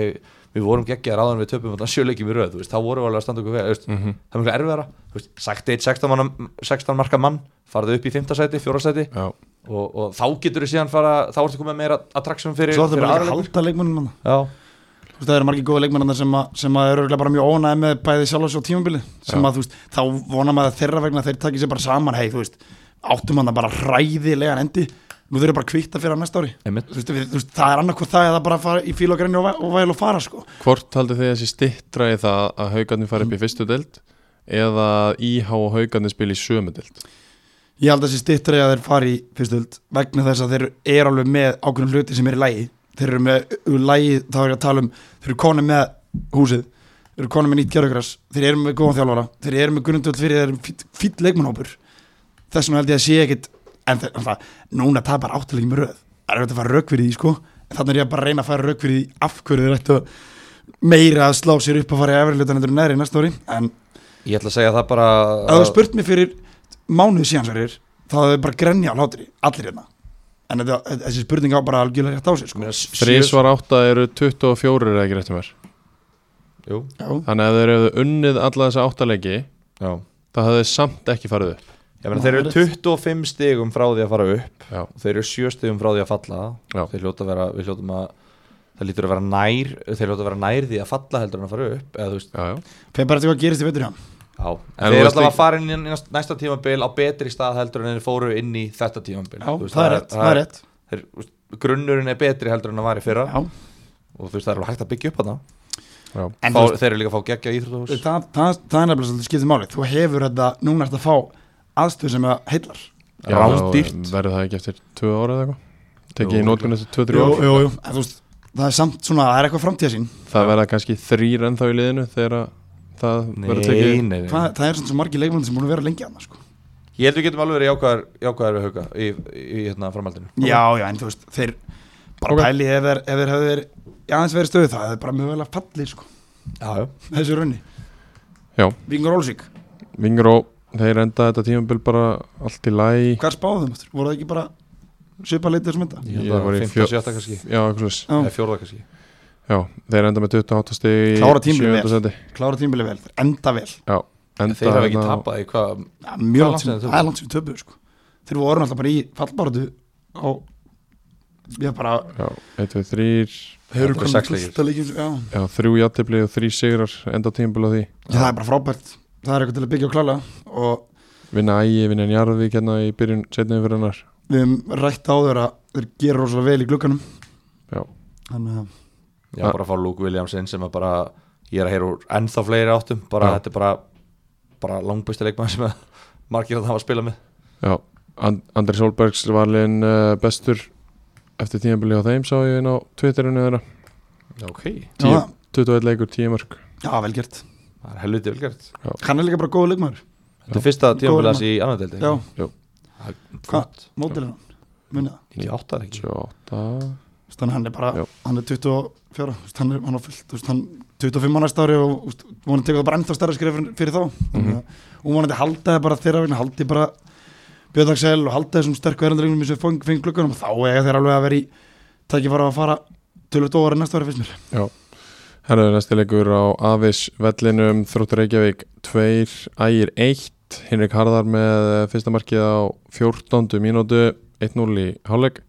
við vorum geggjaðar áðan við töpum þannig sjöleikjum í röð, þú veist, þá vorum við alveg að standa okkur vel, þú veist, það er mjög erfiðara þú veist, sagt eitt 16, manna, 16 marka mann farðu upp í 5. sæti, 4. sæti já. og, og þá getur þú síðan fara þá ertu komið meira attraction fyrir, Svo þetta fyrir bara ekki að aðra leikur. halda leikmennum hann Já, Þú veist, það eru margir góði leikmennar sem, að- sem að eru örugglega bara mjög ónæði með bæði sjálfs og tímabili sem Já. að þú veist, þá vonar maður að þeirra vegna þeir takir sér bara saman, hei, þú veist áttum hann bara hræðilegan endi nú þurfum bara að kvitta fyrir hann næsta ári einmitt þú veist, við, þú veist, það er annarkvort það eða bara fara í fíl og grenni og, væ- og væl og fara sko. Hvort haldið þið þessi stittra í það að haugarnir fara upp í fyrstu deild eða að IH og haugarnir spila í sömu deild ég held að þessi stittur að þeir fari í fyrstu öld vegna þess að þeir eru alveg með ákveðnum hluti sem er í lægi þeir eru með úr lægi, þá er ég að tala um þeir eru konum með húsið þeir eru konum með nýtt gerðugræs, þeir eru með góðan þjálfara þeir eru með grundvöld fyrir, þeir eru fýtt leikmannhópur þess vegna held ég að sé ekkit en þeir, en það, núna það er bara áttalegjum röð það er þetta að fara rauk fyrir því sko en þannig er ég að bara reyna að fara rauk fyrir því af hverju þeir ættu að- meira að slá sér upp að fara í efrilutan endur næri næsta ári en Ég ætla að segja það bara ef þú spurt mér fyrir mánuðu síðan sverir þá hefur bara grenja á hlátri, allir hérna en þetta, þessi spurning á bara algjörlega rétt á sig sko. Þrísvar átta eru 24 eða ekki réttum mér Jú, Já. Þannig að ef þeir hefðu unnið alla þessa áttalegi já það hefðu þeir samt ekki farið upp Ég meina þeir eru 25 stigum frá því að fara upp Já. og þeir eru 7 stigum frá því að falla Já. þeir hljóta að vera, við hljótum að það lítur að vera nær, þeir hljóta að vera nær því að falla heldur en að fara upp, eða þú veist Já, já fer bara til hvað gerist í veitur hjá hann Já, en En þeir þú eru veist alltaf að líka- fara inn í næst- næsta tímabil á betri stað heldur en þeir fóru inn í þetta tímabil já, Þú það er rétt, það er rétt þeir, þú veist, grunnurinn er betri heldur en að var í fyrra já. og þú veist það er alveg hægt að byggja upp hana en Fá, þú veist, þeir eru líka að fá geggja íþrótahús það, það, það, það er nefnilega svolítið skiptið máli þú hefur þetta, núna ert að fá aðstöð sem að heillar Já, Rándýrt. þá Verður það ekki eftir 2 ára eða eitthvað Jú, Tekið í nótkunni eftir 2-3 Jú, ára jú, jú. En, þú veist, það er samt svona, það er eitthvað framtíða sín Það verða kannski þrýr ennþá í liðinu þegar að það verður tekið Nei, nei, nei það, það er svona svo margir leikmenn sem búin að vera lengi annars sko. Ég held við getum alveg verið jákvæðar, jákvæðar við hauka í, í, í hérna framhaldinu já, já, en þú veist, þeir bara Ok. pæli ef þeir, ef þeir hefur verið já, aðeins verið stöðu það, það er bara mjög vel að falli sko, Já, já með þessu runni Já. Vingur Ólsík Vingur og þeir enda þetta tímabil bara allt í læ Hvað spáðu þeim aftur? Voru það ekki bara svipa leitið sem þetta? Ég held Ég að var í fimmta, fjó- sjötta kannski Já, eitthvað slags eða Já, fjórða kannski Já, þeir enda með 28 stig í Klára tímabilið vel. sjöunda sæti. klára tímbili vel, þeir enda vel Enda Þeir hafa ekki hérna- tapað í hvað ja, Það er Mjög langt langt sem síðan þeir töpuðu. það er langt sem töpu sko. Þeir voru alltaf bara í fallbáratu á Já, bara Já, 1, 2, 3 Þeir eru komnir sex í leikir. úrslitaleikinn, já. Já, þrjú játtifli og þrjú sigrar enda tímabil á því Já, Það er bara frábært Það er eitthvað til að byggja og klála og Vinna ægi, vinna njarðvík hérna í byrjun setniðin fyrir hennar við hefum rætt á þeirra þeir gera rosalega vel í glugganum Já. Þannig að Já, Ja. bara að fá Luke Williams inn sem að bara ég er að heyra úr ennþá fleiri áttum bara Já. þetta er bara bara langbæsti leikmaður sem að margir að það hafa að spila með Já, And Andri Solbergs var liðin uh, bestur eftir tímabili á þeim sá ég inn á Twitterinu þeirra Ok Já, Tíu. það- 21 leikur, 10 mörg já, vel gert Það er helviti velgjart Hann er líka bara góð leikmaður Þetta er fyrsta Góður tímanfélags í annar deildi Já, Hvað? mótilega Munið það 98 er ekki 28 Þú veist, Þannig að hann er bara, Já. hann er 24 þú veist, hann, er, hann er fullt, þú veist, hann 25 á næsta ári og þú veist, vonandi tekur það bara ennþá stærra skrif fyrir, fyrir þá mm Mhm. -hmm. og vonandi halda það bara þeirra vegna haldi bara Björn Axel og halda þessum sterku erandregnum sem feng, feng gluggunum og þá eiga þeir alveg að vera í tækifara að fara tölvöld óvara næsta ári fyrst mér Herðu næsti leikur á Avis vellinum Þróttur Reykjavík 2, Ægir 1 Hinrik Harðar með eh, fyrsta markið á 14. mínútu 1-0 í hálfleik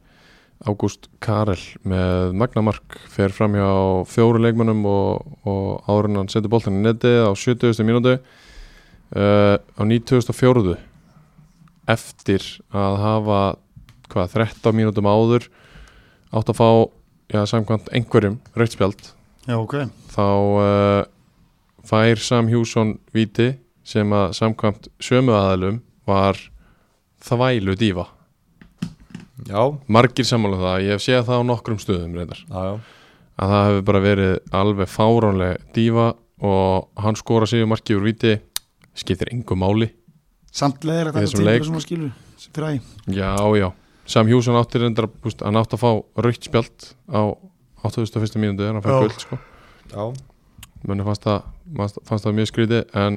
Ágúst Karel með magnamark fer fram hjá fjóru leikmönnum og, og árun hann setur boltan í neti á 70. mínútu uh, á 94. eftir að hafa hvað, 13 mínútum áður átt að fá, já, samkvæmt einhverjum rauðspjald Já, ok, þá uh, fær Sam Hjússon viti sem að samkvæmt sömu aðalum var þvælu dífa já, margir sammála um það, ég hef séð það á nokkrum stöðum reyndar, já, já að það hefur bara verið alveg fáránleg dífa og hann skora sig margir úr viti skiptir engu máli samt leðir Í að taka þessum tímur leik. sem maður skilur fyrir ægi Já, já, Sam Hjússon átti reyndar búst, hann átti að fá raukt spjald á 81. mínútu en hann fær Já. guld sko. Já, mönni fannst það, fannst, fannst það mjög skrítið en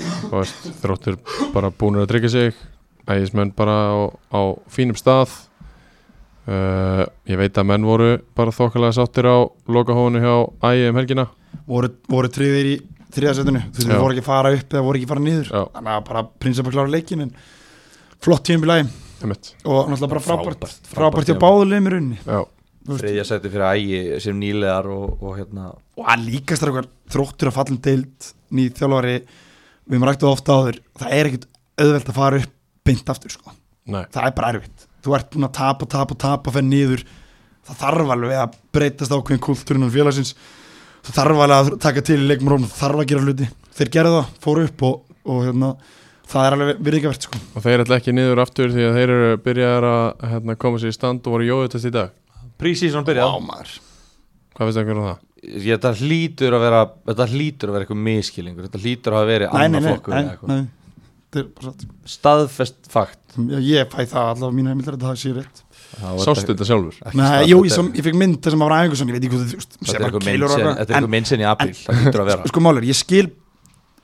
þú veist, þróttur bara búinir að tryggja sig ægismenn bara á, á fínum stað uh, ég veit að menn voru bara þokkalega sáttir á lokahóðinu hjá ægi um helgina voru, voru tryggðir í þriðasettinu þú veist, Já. við voru ekki að fara upp eða voru ekki að fara niður Já. þannig að bara prinsip að klára leikin en flott tímbilægi einmitt. og náttúrulega bara frábært Frábært, frábært frábært hjá tímabil. báðulegum í rauninni Já, Þú veist, þriðja seti fyrir ægi sem nýlegar og, og hérna og að líka strákar þróttur að fallin deild nýð þjálfari við erum rættu ofta áður það er ekkit auðvelt að fara upp beint aftur sko. nei, það er bara erfitt þú ert búin að tapa, tapa, tapa, fenn niður það þarf alveg að breytast ákveðin kultúrinan félagsins það þarf alveg að taka til í leikmuróm það þarf að gera hluti, þeir gerðu það, fóru upp og, og hérna, það er alveg virðingavert sko. og þeir ætla ekki niður aftur því að þeir eru byrjaðar að hérna, koma sér í stand og voru jóðutast í dag Prísísson byrjað maður Hvað finnst það einhverjum það? Ég- Þetta hlýtur að vera Þetta hlýtur að vera eitthvað miskilingur Þetta hlýtur að hafa verið nei, nei, annar nei, flokkur eða nei, eitthvað. nei, þetta er bara satt sko. Staðfest fakt Já, ég fæ það allavega á mínu heimildar að það sé rétt Það var Sástu þetta sjálfur? ekki Nei, staðfest. jú, ég, som, ég fekk mynd þessum af ræðingu ég veit ekki hvað þú veist, Þetta sem er bara eitthvað keilur og minn sinn- þetta er eitthvað minn eitthvað. sinn í apríl Það hlýtur að en, vera sko málur, ég skil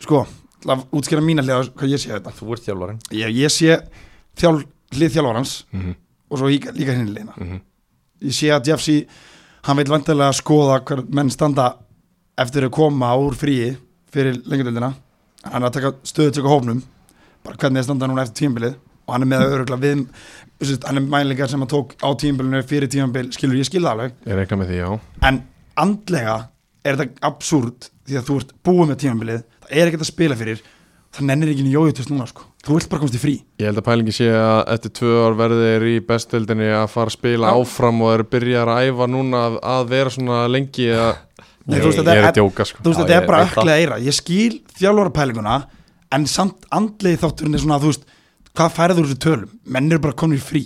sko, til að útskýra mína hliða hvað ég sé þetta, Þú ert þjálfarinn ég, ég sé þjál, hlið þjálfarans og svo líka, líka hinn liðina Mhm. ég sé að Jeff sí, hann veit vantilega að skoða hver menn standa eftir að koma úr fríi fyrir lengjadöldina hann er að taka stöðu tökka hófnum bara hvernig þeir standa núna eftir tímabilið og hann er með örugla við þú veist, hann er mælingar sem hann tók á tímabilinu fyrir tímabil, skilur ég skil það alveg Ég reikna með því, já en andlega er þetta absúrt því að þú ert búið með tímabilið það er ekkert að spila fyrir það nennir ekki nýjóðutust núna sko þú vilt bara komast í frí Ég held að pælingi sé að eftir tvö ár verði þeir í bestdeldinni að fara að spila Já. áfram og þeir byrjar að æfa núna að, að vera svona lengi (laughs) að Nei, ég, þú veist, ég er þetta að djóka sko. þú veist Já, þetta ég er bara veit það. öklega eira ég skil þjálfarapælinguna en samt andlega þátturinn er svona að þú veist hvað færður úr þessu tölum menn eru bara komin í frí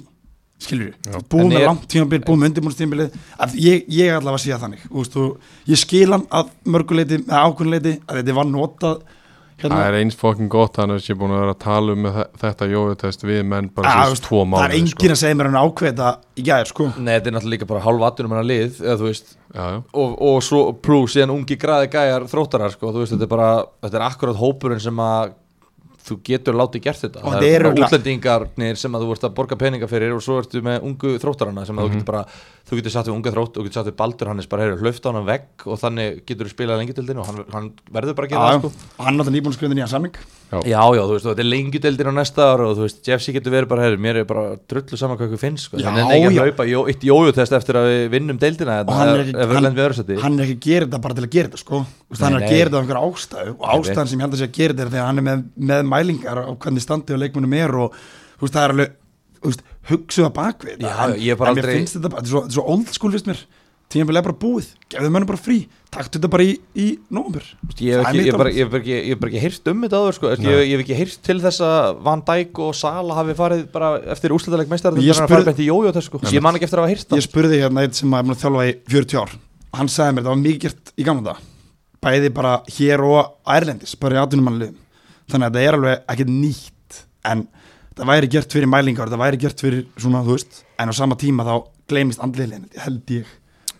skilur við búið En með er- langt tímabil, búið með undirbúinstímabilið að ég, ég allavega sé það þannig þú veist, og, ég skil hann að mörguleiti að ákunnuleiti að þetta var notað hérna. Það er eins fokkin gott þannig að ég er búin að vera að tala um með þe- þetta jóðutest við menn bara Ah, þú síðust tvo mánuði sko. það er sko. enginn að segja mér hann ákveða í gæðir sko Nei, þetta er náttúrulega líka bara hálf atunum hennar lið eða, þú veist, sko. Já, já. og, og svo plus síðan ungi graði gæjar þróttarar sko, þú veist, þetta er bara þetta er akkurat hópurinn sem að þú getur látið gert þetta Og það þetta er eru bara örugglega- útlendingarnir sem að þú vart að borga peninga fyrir og svo ertu með ungu þróttarana sem að þú getur bara þú getur satt við unga þrótt og getur satt við Baldur Hannes bara heyrðu hlöft á hann vegg og þannig getur þú spilað lengjudeldin og hann, hann verður bara að gera Já, það sko og hann náttúrulega nýbúin að skrifa nýjan samning Já, já, þú veist, og þetta er lengjudeldin á næsta ára og þú veist, Jeffsy getur verið bara, heyrðu, mér er bara drullu saman hvað ykkur finnst, sko, Já, þannig að ekki já. að hlaupa jó, eitt jójutest eftir að við vinnum deildina og hann ef- er, ekki, Hérna, ef við hann, lendum við öðru sæti hann er ekki að gera þetta bara til að gera þetta sko. Þú veist, Nei, hann er nei. að gera þetta af einhverja ástæðu og Nei, ástæðan sem ég held að sé að gera þetta er þegar hann er með, með mælingar á hvernig standið og leikmunum er og þú veist, það er alveg þú veist, hugsuða bakvið þetta. Já, en, ég er bara en mér aldrei- finnst þetta bara, þetta er svo, þetta er svo old school finnst mér tímabilið er bara búið, gefðu mönnum bara frí taktu þetta bara í, í nómur Veistu, Ég hef Það er ekki, ég mitt hef bara, álit. ég hef bara, ekki- ég hef bara ekki heyrt um þetta áður sko. Veistu, ég, ég hef ekki heyrt til þess að Van Dijk og Sala hafi farið bara eftir úrslutaleg meistar Ég þannig að spurði- fara beint í jójó þess sko. ég man ekki eftir að hafa heyrt það ég spurði hérna eitt sem er búin að þjálfa í 40 ár hann sagði mér það var mikið gert í gamla dag bæði bara hér og ærlendis bara í 18 mann liðum þannig að það er alveg ekkert nýtt en það væri gert fyrir mælingar það væri gert fyrir svona þú veist en á sama tíma þá gleymist andliðlegin held ég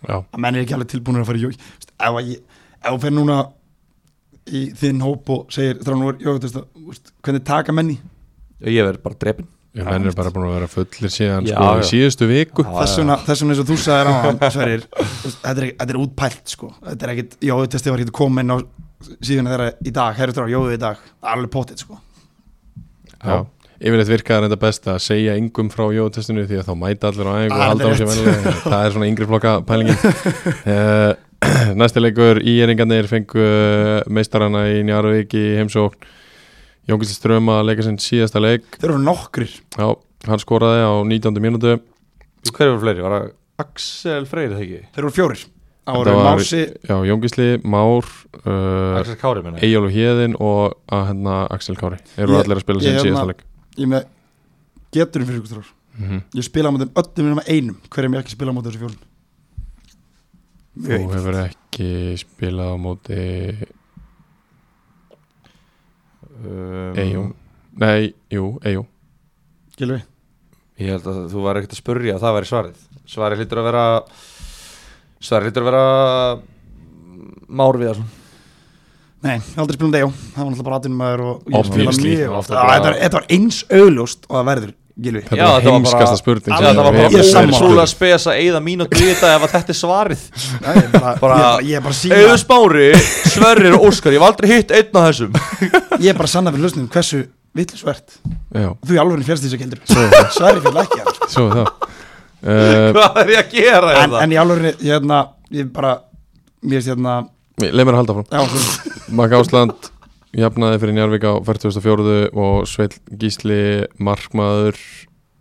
Já. að menn er ekki alveg tilbúinir að fara í jói ef að ég- ef þú fer núna í þinn hóp og segir þrjónur hvernig taka menni ég verð bara drepin Ég menn er bara búin að vera fullir síðan Já, sko, í já. síðustu viku Já. þess vegna, þess vegna eins og þú sagðir á hann Sverrir, þú veist, þetta er, ekki- þetta er útpælt sko. þetta er ekkit, jóðu testið var ekkit komin á síðan þeirra í dag, herru þrá jóðu í dag það er alveg potið sko. Já. Yfirleitt virkaðar enda best að segja yngum frá jóðutestinu því að þá mæta allir á æfingu og Ah, halda á alveg sér (laughs) venlega það er svona yngri flokka pælingin uh, (clears throat) Næsti leikur íeringarnir fengu eh, meistarana í Njarvík í heimsókn Jónkist Ströma að leika sinn síðasta leik þeir eru nokkrir Já, hann skoraði á 19. mínútu hver eru fleiri, var það Axel Freyr þegar ekki þeir eru fjórir, ára var- Mási Já, Jóngisli, Már uh, Axel Kári minna Egil og Hjeðin og að hérna Axel Kári eru Ég- allir að spila ég sem hérna- síðasta leik ég með geturum fyrir ykkur þar Mhm. ég spila á mótum öllum nema einum hverjum ég ekki spila á mótum þessu fjólum Þú hefur ekki spilað á móti um, Eyjó Nei, jú, Eyjó Gilvi Ég held að þú var ekkert að spurja að það væri svarið Svarið hlýtur að vera Svarið hlýtur að vera mm, Már Viðarsson Nei, ég hef aldrei spilum Dejo Það var náttúrulega bara aðtunum maður og ég Obviously, spila mjög oft náttúrulega bara- Þetta var- þetta var eins augljóst og það verður Gilvi Þetta Já, var þetta var bara- heimskasta spurning Já, sem þetta var við bara- hefum Ég er verið sammála. spurð. Ótrúlega spes að eigða mínútu í þetta ef að þetta er (laughs) svarið Nei, ég er bara, Bara- ég er bara, ég er bara sína Eður Smári, Sverrir og Óskar Ég var aldrei hitt einn af (laughs) þessum Ég er bara að sanna fyrir lusnum hversu vitlisvert Já, Þú í alveg félst því sem gildur svo er það- Sverri fyrir ekki hann sko. svo er Eh, það Hvað er ég að gera en, þetta? en í alveg hérna Ég bara Mér veist hérna Uh, Leif mér að halda frá Já, þú- Maka Ásland jafnaði fyrir Njarvík á 44. og Sveil Gísli Markmaður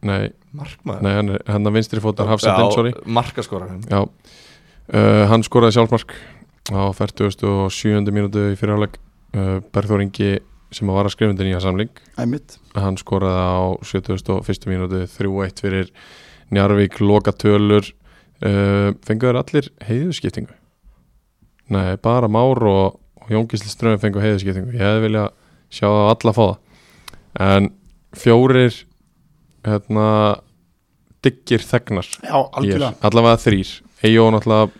Nei, Markmaður nei hann, er- hann að vinstri fótar Hafsendin, sorry Markaskoran Já, uh, hann skoraði sjálfsmark á 47. mínútu í fyrirháleik uh, Bergþór Ingi sem var að skrifa undir nýja samling Æmitt hann skoraði á 71. mínútu 3-1 fyrir Njarvík lokatölur uh, fengu þeir allir heiðuskiptingu Nei, bara Már og, og Jón Gísli Ströðum fengu heiðuskiptingu ég hefði viljað sjá það alla fá það en fjórir hérna diggir þegnar Já, algjörlega allavega þrýr Eyjó náttúrulega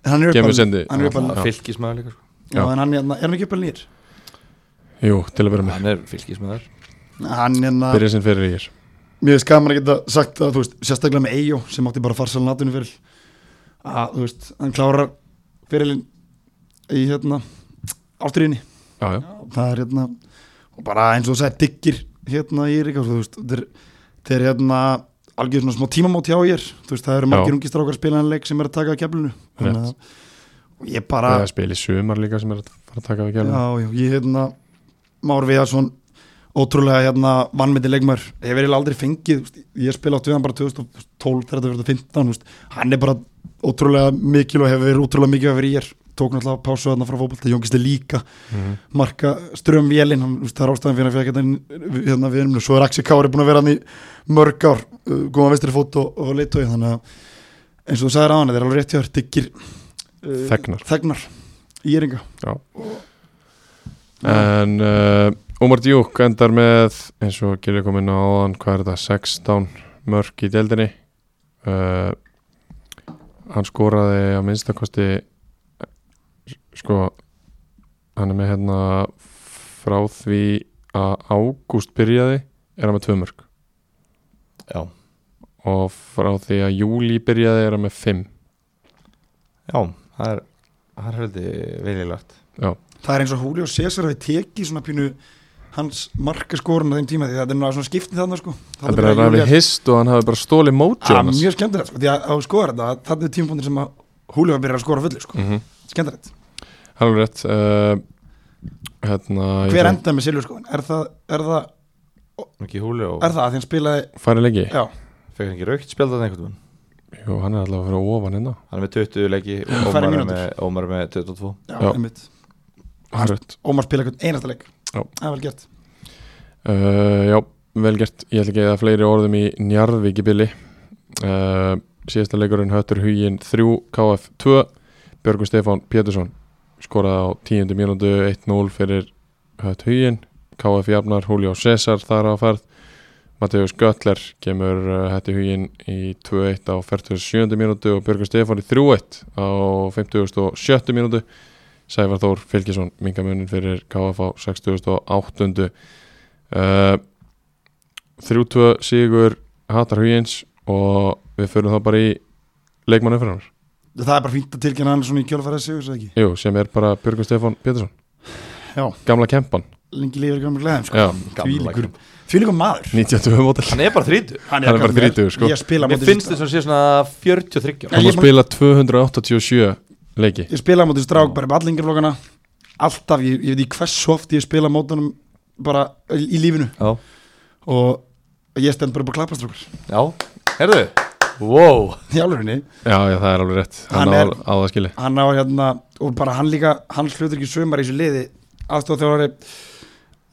En Hann er kemur uppalinn sendi hann er uppalinn. Já. Fylkismæður líka sko. Já, Já. en hann hérna Er hann ekki uppalinn nýr? Jú, til að vera með Hann er fylkismæður Hann hérna Byrja sinn fyrir Eyjir Mér veist gaman að geta sagt að þú veist Sérstaklega með Eyjó sem átti bara farsalan aðtunum fyrir Að þú veist Hann klárar fyrirlin Í hérna Ástriðinni Já, já, það er hérna og bara eins og þú sagði diggir hérna í Eirík þú veist, þetta er, þetta er hérna algjör svona smá tímamót hjá ég þú veist, það eru Já. margir ungi strákar spilanleik sem er að taka að keflinu Þannig Rétt. að- og ég bara það er spil í sumar líka sem er að fara að taka við kjálum já, já, ég hérna Már Viðarsson ótrúlega hérna vannmyndi leikmar ég verið aldrei fengið, þú veist, ég spila átt við hann bara 2012, 13, 15 veist, hann er bara ótrúlega mikil og hefur verið ótrúlega mikil að vera í ég tók náttúrulega pásu þarna frá fótbolta, jóngisti líka marka ström vélinn hann, þú veist, það er ástæðan fyrir að fyrir hérna, hérna við erum, svo er Axi Kári búin að vera hann í mörg ár, uh, góðan vestri fót og, og leitói, þannig að eins og þú sagðir á hann, það er alveg rétt hjá þér, diggir uh, Þegnar. þegnar, íringa En uh, Umar Djúk endar með eins og Gilja kom inn á áðan hvað er þetta, 16 mörk í deildinni uh, Hann skoraði að minnstakosti sko hann er með hérna frá því að ágúst byrjaði er hann með tvö mörk Já, og frá því að júli byrjaði er hann með fimm já, það er Það er heldur viljilegt Já, það er eins og Julio César hafi tekið svona pínu hans markaskorun á þeim tíma því þetta er náttúrulega svona skiptið þarna sko hann byrjaði að ræði hist og hann hafi bara stólið mót að Jónas mjög skemmtilegt sko því að á skora þetta þarna er tímapunktin sem að Julio byrjar að skora fullu sko mm -hmm. skemmtilegt Hann er rétt uh, hérna, ég hver fer- endaði með Silvur sko er það er það Ekki húli og er það að því hann spilaði Færi leiki? já Fekir ekki raukt spjaldað einhvern veginn Jú, hann er allavega fyrir ofan hérna Hann er með 20 leiki og Færri Ómar er mínútur. með, Ómar er með 22 já, Já. einmitt Harrið Ómar spilaði hvern einasta leik Já. það er vel gert uh, Já, vel gert Ég ætla ekki að eyða fleiri orðum í Njarðvík í bili uh, Síðasta leikurinn höttur hugin 3 KF 2 Björgun Stefán Pétursson skoraði á 10. mínútu 1-0 fyrir hött hugin KF jafnar Julio César þar á ferð Mateus Götler kemur hætti hugin í 2-1 á 47. mínútu og Björgun Stefán í 3-1 á 57. mínútu Sævar Þór Fylkisson mingamunin fyrir KF á 68. Uh, 3-2 sigur Hattar Huyins og við förum þá bara í leikmannu fyrir hann það er bara fínt að tilkynna hann svona í kjölfæra sigur svo ekki Jú, sem er bara Björgun Stefán Pétursson Já. Gamla kempan lengi lifir gamla gleðum sko Já, Gamla Þvílíkur- þvílíkur maður 92 mótel Hann er bara 30 hann Hann er bara gamall maður. 30, sko. ég spila á Mér móti finnst Vista. þess að sé svona 43 ára Nei, Hann ég má spila 287 leiki ég spila á móti strák bara með allingarflokkana alltaf, ég, ég veit ekki hversu oft ég spila á mótunum bara í, í lífinu Já, og ég stend bara upp að klappa strákar já, herðu wow. (laughs) í álurinni já, já, það er alveg rétt Hann Hann, er- á, á það skili hann á hérna og bara hann líka, hans hlutur ekki sömar í þessu liði aðstofþjólari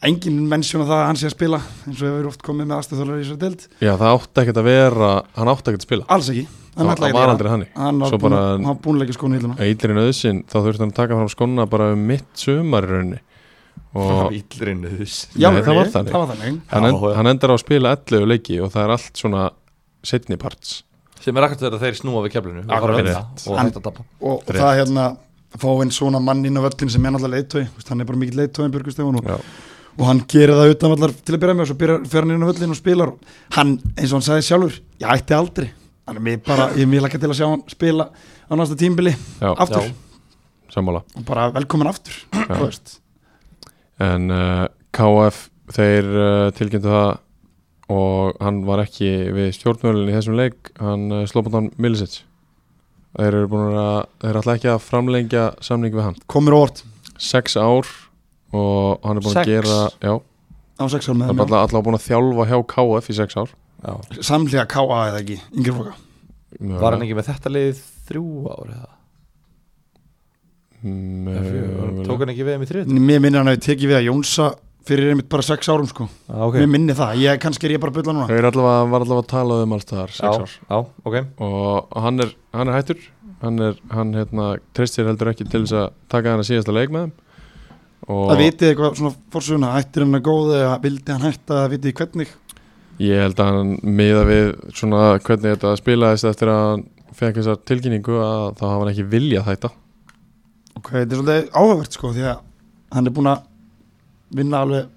engin mennsjón á það að hann sé að spila eins og hefur oft komið með aðstofþjólari í þessu deild Já, það átti ekkert að vera, hann átti ekkert að spila alls ekki, hann Það ætlaði það ekki að var gera aldrei þannig það. hann Svo var búin bara- að- hann var búin að leggja skónu í hilluna Eilirinn auðsinn, þá þurfti hann að taka fram skonna bara um mitt sumar í rauninni og Íllurinn þess Í Nei, það var alvörunni, þannig. það var þannig hann, Já, end, já. hann endar á að spila 11 leiki og það er allt svona setni parts sem er akkurat þegar þeir snúa við keflinu og fara Akkurat. að vinna og Hann- hætta að tappa og Rétt. það hérna fá einn svona mann inn á völlin sem er náttúrulega leiðtói Þú veist, hann er bara mikill leiðtói en Björgustefan og, Já. og hann gerir það utan vallar til að byrja með og svo byrja, fer hann inn á völlin og spilar og hann, eins og hann sagði sjálfur, ég ætti aldrei hann er mér bara, ég er mér lakka til að sjá hann spila á næsta tímbili Já, aftur Já. sammála og bara velkomin aftur þú veist. En uh, KF, þeir uh, tilkynntu það og hann var ekki við stjórnmjölin í þessum leik hann uh, sló búin hann Milicic Þeir eru búin að, þeir eru alltaf ekki að framlengja samning við hann komur á orð Sex ár og hann er búin Sex? að gera Já, á sex ára hann er með hérna. bara alltaf búin að þjálfa hjá KF í sex ár hann samlega K.A. eða ekki, yngri fóka var hann ekki með þetta liðið þrjú ár eða Mögulega. tók hann ekki við þeim í þriðut mér minni hann hafi tekið við að Jónsa fyrir einmitt bara sex árum sko Ah, ok mér minni það, ég, kannski er ég bara að bylla núna Þau eru allavega, var allavega að tala um alls þar já, sex ár já, ok og hann er, hann er hættur hann er, hann hérna treystir heldur ekki til þess að taka hann að síðasta leik með þeim að og vitið eitthvað svona fórsöguna hættir hann að góða eða vildi hann hætta að vitið hvernig ég held að hann miða við svona hvernig þetta spilaðist eftir að hann fekk þessa tilkynningu að þá hafa hann ekki viljað hætta ok, þetta er svolítið áhugavert sko því að hann er búinn að vinna alveg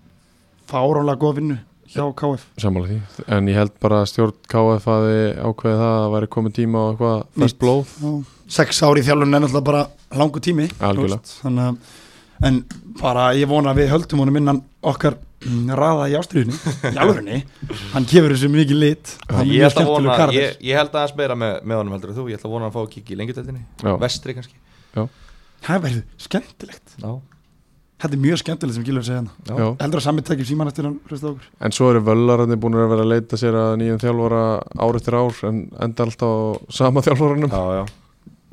fáránlega góða vinnu hjá KF sammála því, en ég held bara að stjórn KF hafi ákveðið það að væri komið tíma á eitthvað fæst Nýtt. blóð Já, sex ár í þjálfun er náttúrulega bara langu tími Algjörlega. þú veist, þannig að En bara ég vona að við höldum honum innan okkar mm, raða í ástriðinni, í alvörunni, hann gefur þessu mikið lit, hann er ég held mjög að skemmtileg vona karakter. ég, ég held aðeins meira með, með honum heldur en þú ég held að vona að hann fá að kikki í lengjudeldinni Já. vestri kannski Það verður skemmtilegt, já, þetta er mjög skemmtilegt sem Gilur segja hann. Já. Heldur að samið tekjum síman eftir hann, hlusta okkur. en svo eru völlararnir búin að vera að leita sér að nýjum þjálfara ár eftir ár en enda alltaf á sama þjálfaranum já, já.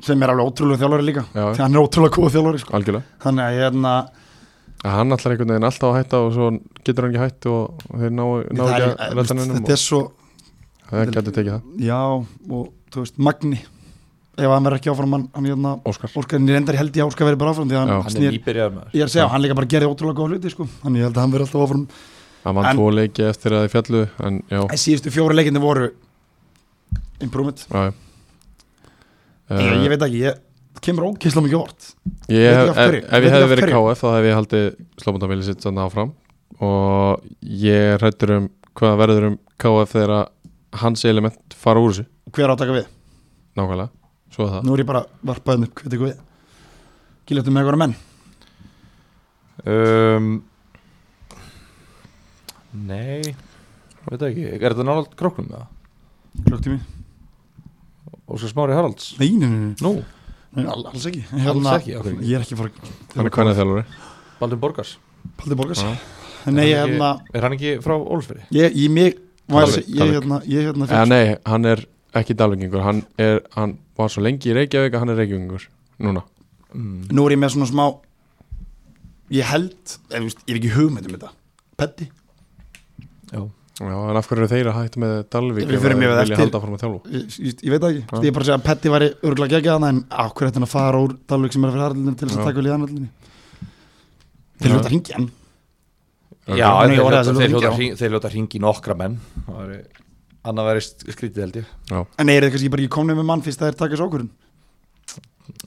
sem er alveg ótrúlega þjálfari líka Já. því hann er ótrúlega góð þjálfari sko. algjörlega þannig að ég hérna, að hann ætlar einhvern veginn alltaf að hætta og svo getur hann ekki hætt og þeir ná, ná það ekki er, að þú redda veist, hann þetta og er svo það getur tekið það já, og þú veist, Magni ef hann verður ekki áfram hann, hann hérna, Óskar orkarinn er endar held ég áskar verið bara áfram því að Já. hann, hann er snýr, nýbyrjaður maður ég er að segja, hann líka bara gerði ótrúlega góð hluti sko. þannig ég held að hann verður alltaf áfram hann vann En- tvo leiki eftir að þið fjallu en já, en síðustu fjóru leikinni voru improvement, já já. Eh, ég, ég veit ekki ég það kemur ókysla mikið vort ég veit hef, ekki ef, af hverju, ef ég veit ekki hefði af verið hverju. KF þá hef ég haldið slóbundamili sitt þannig áfram og ég er hrættur um hvað verður um KF þegar að hans element fara úr þessu hver á að taka við, nákvæmlega, svo er það nú er ég bara varpaðin upp, hvað tekur við Giljartum með eitthvað menn um, nei veit það ekki, er þetta nálaðt króknum það? Klukkutími? Óskar Smári Haralds Nei, nei, nei, nei. nú, Nei, all- alls ekki Hérna- ekki, af hverju ekki? Ég er ekki að fara hann er hvernig þjálfari Baldur Borgars Paldi Borgars Já. Nei, ég Er hann hérna ekki- er hann ekki frá Ólfsfyrir? Ég, ég, mig var að Dalvík, segja- Ég Dalvík. hérna Ég hérna Eða fyrir Eh, nei, hann er ekki dalvingingur hann, er, hann var svo lengi í Reykjavík að hann er Reykjavíkingur núna Mm. Nú er ég með svona smá Ég held Ég, veist, ég er ekki hugmynd um þetta Petti Já. Já, en af hverju eru þeir að hætta með Dalvík Við ef þeir förum yfir það vilja eftir. halda fórum að þjálfa Ég, ég, ég veit það Já. ekki Ég er bara að segja að Petti væri örgulega geggjað hana En á hverju þetta að fara úr Dalvik sem er fyrir harlunum Til þess Já. að taka við liðanallinni Já. Þeir hljóta hringi hann Já, Nei, en þeir orðið hljóta- þessi þeir hljóta hljóta hringi á. hring- þeir hljóta hringi nokkra menn Það væri- annað væri sk- skrítið held ég En er þetta kannski bara ekki komnið með mann Fyrst það er takast ákvörðun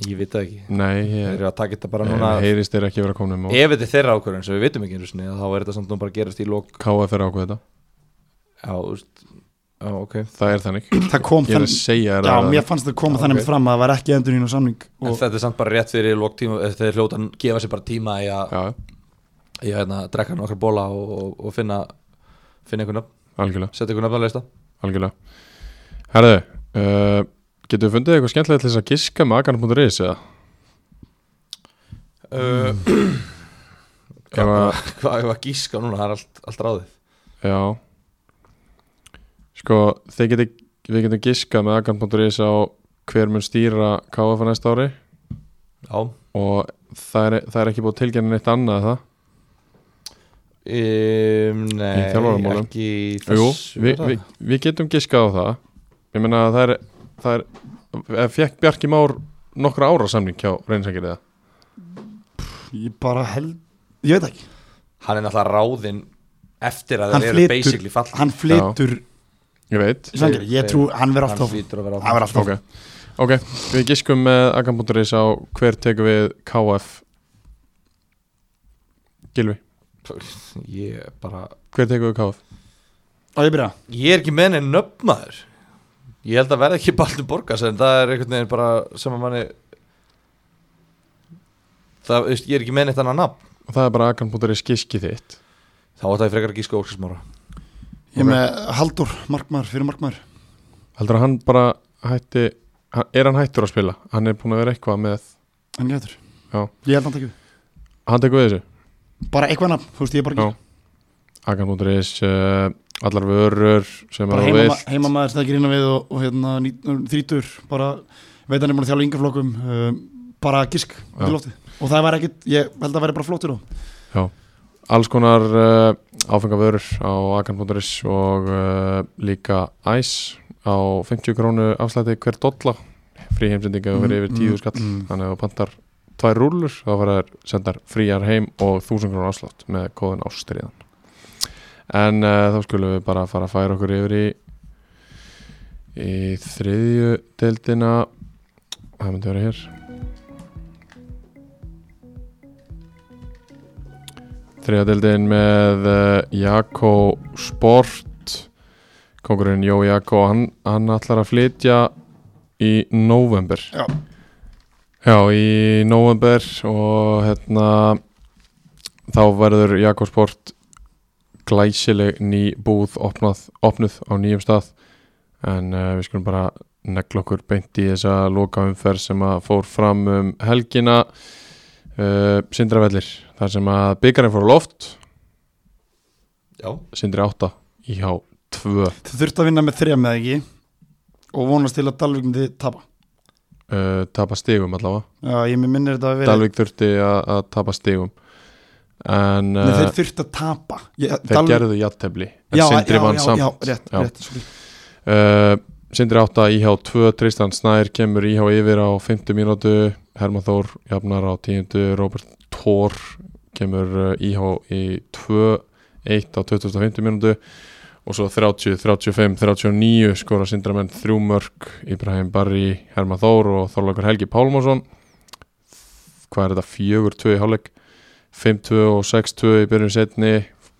ég veit það ekki Eh, Nei, þeir ég, eru að taka þetta bara núna, núna heyrist þeir ekki vera komnum og ef þetta er þeirra ákvörðin sem við vitum ekki einu sinni þá er þetta samt nú bara að gerast í lók KF er ákveð þetta já, þú veist já, ok Það er þannig (clears throat) Það kom Ég er þann að segja þér Já, að mér fannst það koma Já, þannig ok. fram að það var ekki endur nýjum samning en og þetta er samt bara rétt fyrir lók tíma þeir hljóta að gefa sér bara tíma í að Já, í að hérna, drekka nokkra bóla og, og, og finna finna einhvern nöfn algjörlega, setja einhvern nöfn að leista algjörlega Herðu, uh, getur við fundið eitthvað skemmtilegt til þess að giska með akan.is eða? uh, (clears throat) Ef Hérna- að- hvað hefur að gíska núna það er allt, allt ráðið Já Sko, þeir geti við getum giska með agan.is á hver mun stýra KF á næsta ári Já, og það er, það er ekki búið að tilgjana neitt annað er það um, nei, Í þjálfaramálum. ekki í Jú, þessu við, bara. við, við getum giskað á það Ég meina að það er, það er ef Fjekk Bjarki Már nokkra ára samning hjá reynsangir eða Ég bara held, ég veit ekki Hann er náttúrulega ráðinn eftir að Hann þeir eru flytur- basically fall Hann flytur, Ég veit sannkjör, ég trú, hann verður Hann alltaf hlýtur að vera Hann verður alltaf Ok, ok, við giskum með Agan.is á hver tekur við KF Gilvi, áfram Ég er bara hver tekur við KF? Og ég byrja, Ég er ekki með neinn nöfnmaður Ég held að verða ekki baldur borgas en það er einhvern veginn bara sem að manni Það, veist, ég er ekki með neitt annað nafn Og það er bara Agan.is giskið þitt Þá átt að ég frekar að gíska Óskarsmára ég er með Haldur, markmaður, fyrir markmaður Heldur að hann bara hætti hann- Er hann hættur að spila? Hann er búin að vera eitthvað með Hann getur, Já. ég held hann tekið Hann tekur við þessu? Bara eitthvað nafn, þú veist, ég er bara ekki Já. Agan.is uh, Allar vörur sem bara að þú heimama, vilt. heimamaður stæði grýna við og, og hérna, þrítur bara, veit hann er búin að þjálfa yngjaflokkum um, bara gisk út Já. í lofti og það var ekkit, ég held að vera bara flottur á alls konar uh, áfengavörur á akan.is og uh, líka æs á 50 krónu afslætti hver dolla frí heimsendinga og verið yfir 10 skall mm. þannig að þú pantar tvær rúlur þá fara þær sendar fríjar heim og 1000 krónu afslátt með kóðin ástriðan en uh, þá skulum við bara fara að færa okkur yfir í í þriðju deildina það myndi vera hér Þriðadeldin með eh, Jakko Sport Kongurinn Jó Jakko hann, hann ætlar að flytja í november Já. Já, í november og hérna þá verður Jakko Sport glæsileg ný búð opnað, opnuð á nýjum stað en uh, við skulum bara negla okkur beint í þessa lokaumferð sem að fór fram um helgina uh, Sindravellir þar sem að byggarinn fór á loft Já, Sindri 8 í hjá 2 uh, þau þurftu að vinna með þrejum eða ekki og vonast til að Dalvik myndi tapa Eh, tapa stigum allavega Já, ég mér minnir þetta að vera Dalvik þurfti að að tapa stigum en Nei, uh, þeir þurftu að tapa ég, þeir gerðu jattefli en já, Sindri já, vann já, samt já, rétt, rétt, sorry. Uh, Sindri 8, IH 2, Tristan Snær kemur IH yfir á 50 mínútu Herman Þór jafnar á 10 Robert Thor kemur uh, IH í 2 1 á 25 mínútu og svo 30, 35, 39 skora Sindramenn 3 mörg Ibrahim Barri, Herman Þór og Þorlokur Helgi Pálmarsson hvað er þetta, 4-2 í hálfleik 5-2 og 6-2 í byrjun setni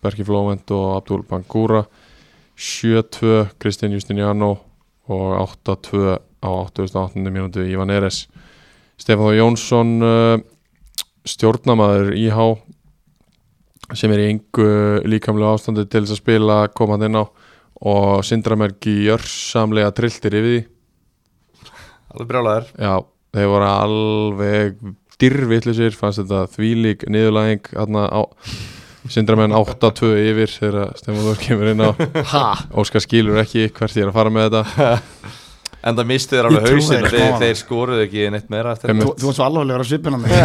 Berki Flóvent og Abdul Bangura 7-2 Kristinn Justiniano og 8-2 á 88. mínútu Ívan Eres Stefán Þór Jónsson uh, stjórnamaður IH sem er í engu líkamlega ástandi til þess að spila komað inn á og Sindramerki jörsamlega trilltir yfir því alveg brjálæður Já, þeir voru alveg dyrvillisir, fannst þetta þvílík niðurlæðing hérna á Sindramenn 8-2 yfir þegar Stefán Þór kemur inn á ha, Óskar skilur ekki hvert ég er að fara með þetta En það misti þeir Ég alveg trúi hausin ekki Um, á þeir, hana. þeir skoruðu ekki neitt meira eftir Einmitt. þú, þú varst svo alvarlegur að svipina (laughs) mig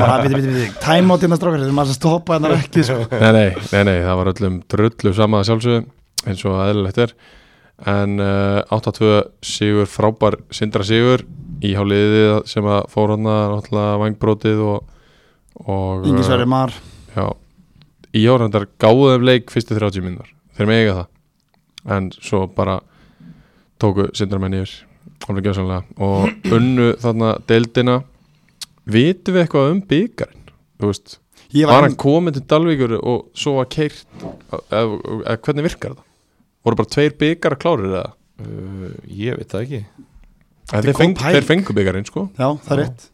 bara, biti, biti, biti, time out innan strákar þeir maður að stoppa hennar ekki sko. nei, nei, nei, nei, það var öllum drullu sama að sjálfsögðu eins og eðlilegt er en uh, 8-2 sigur frábær sindra sigur í háliðið sem að fór hann að náttúrulega vangbrótið og, og Ingi Sverri Mar, já, í árandar gáðu þeim leik fyrstu 30 minnur, þeir mega það en svo bara tóku sindramenn yfir alveg gjössanlega (clears throat) og unnu þarna deildina vitum við eitthvað um byggarinn þú veist ég Var var, um- hann komin til Dalvíkur og svo að keirt eða hvernig virkar það? Voru bara tveir byggar að klára það? uh, Ég veit það ekki En er þeir, góð feng, pæling. þeir fengu byggarinn sko já, það er rétt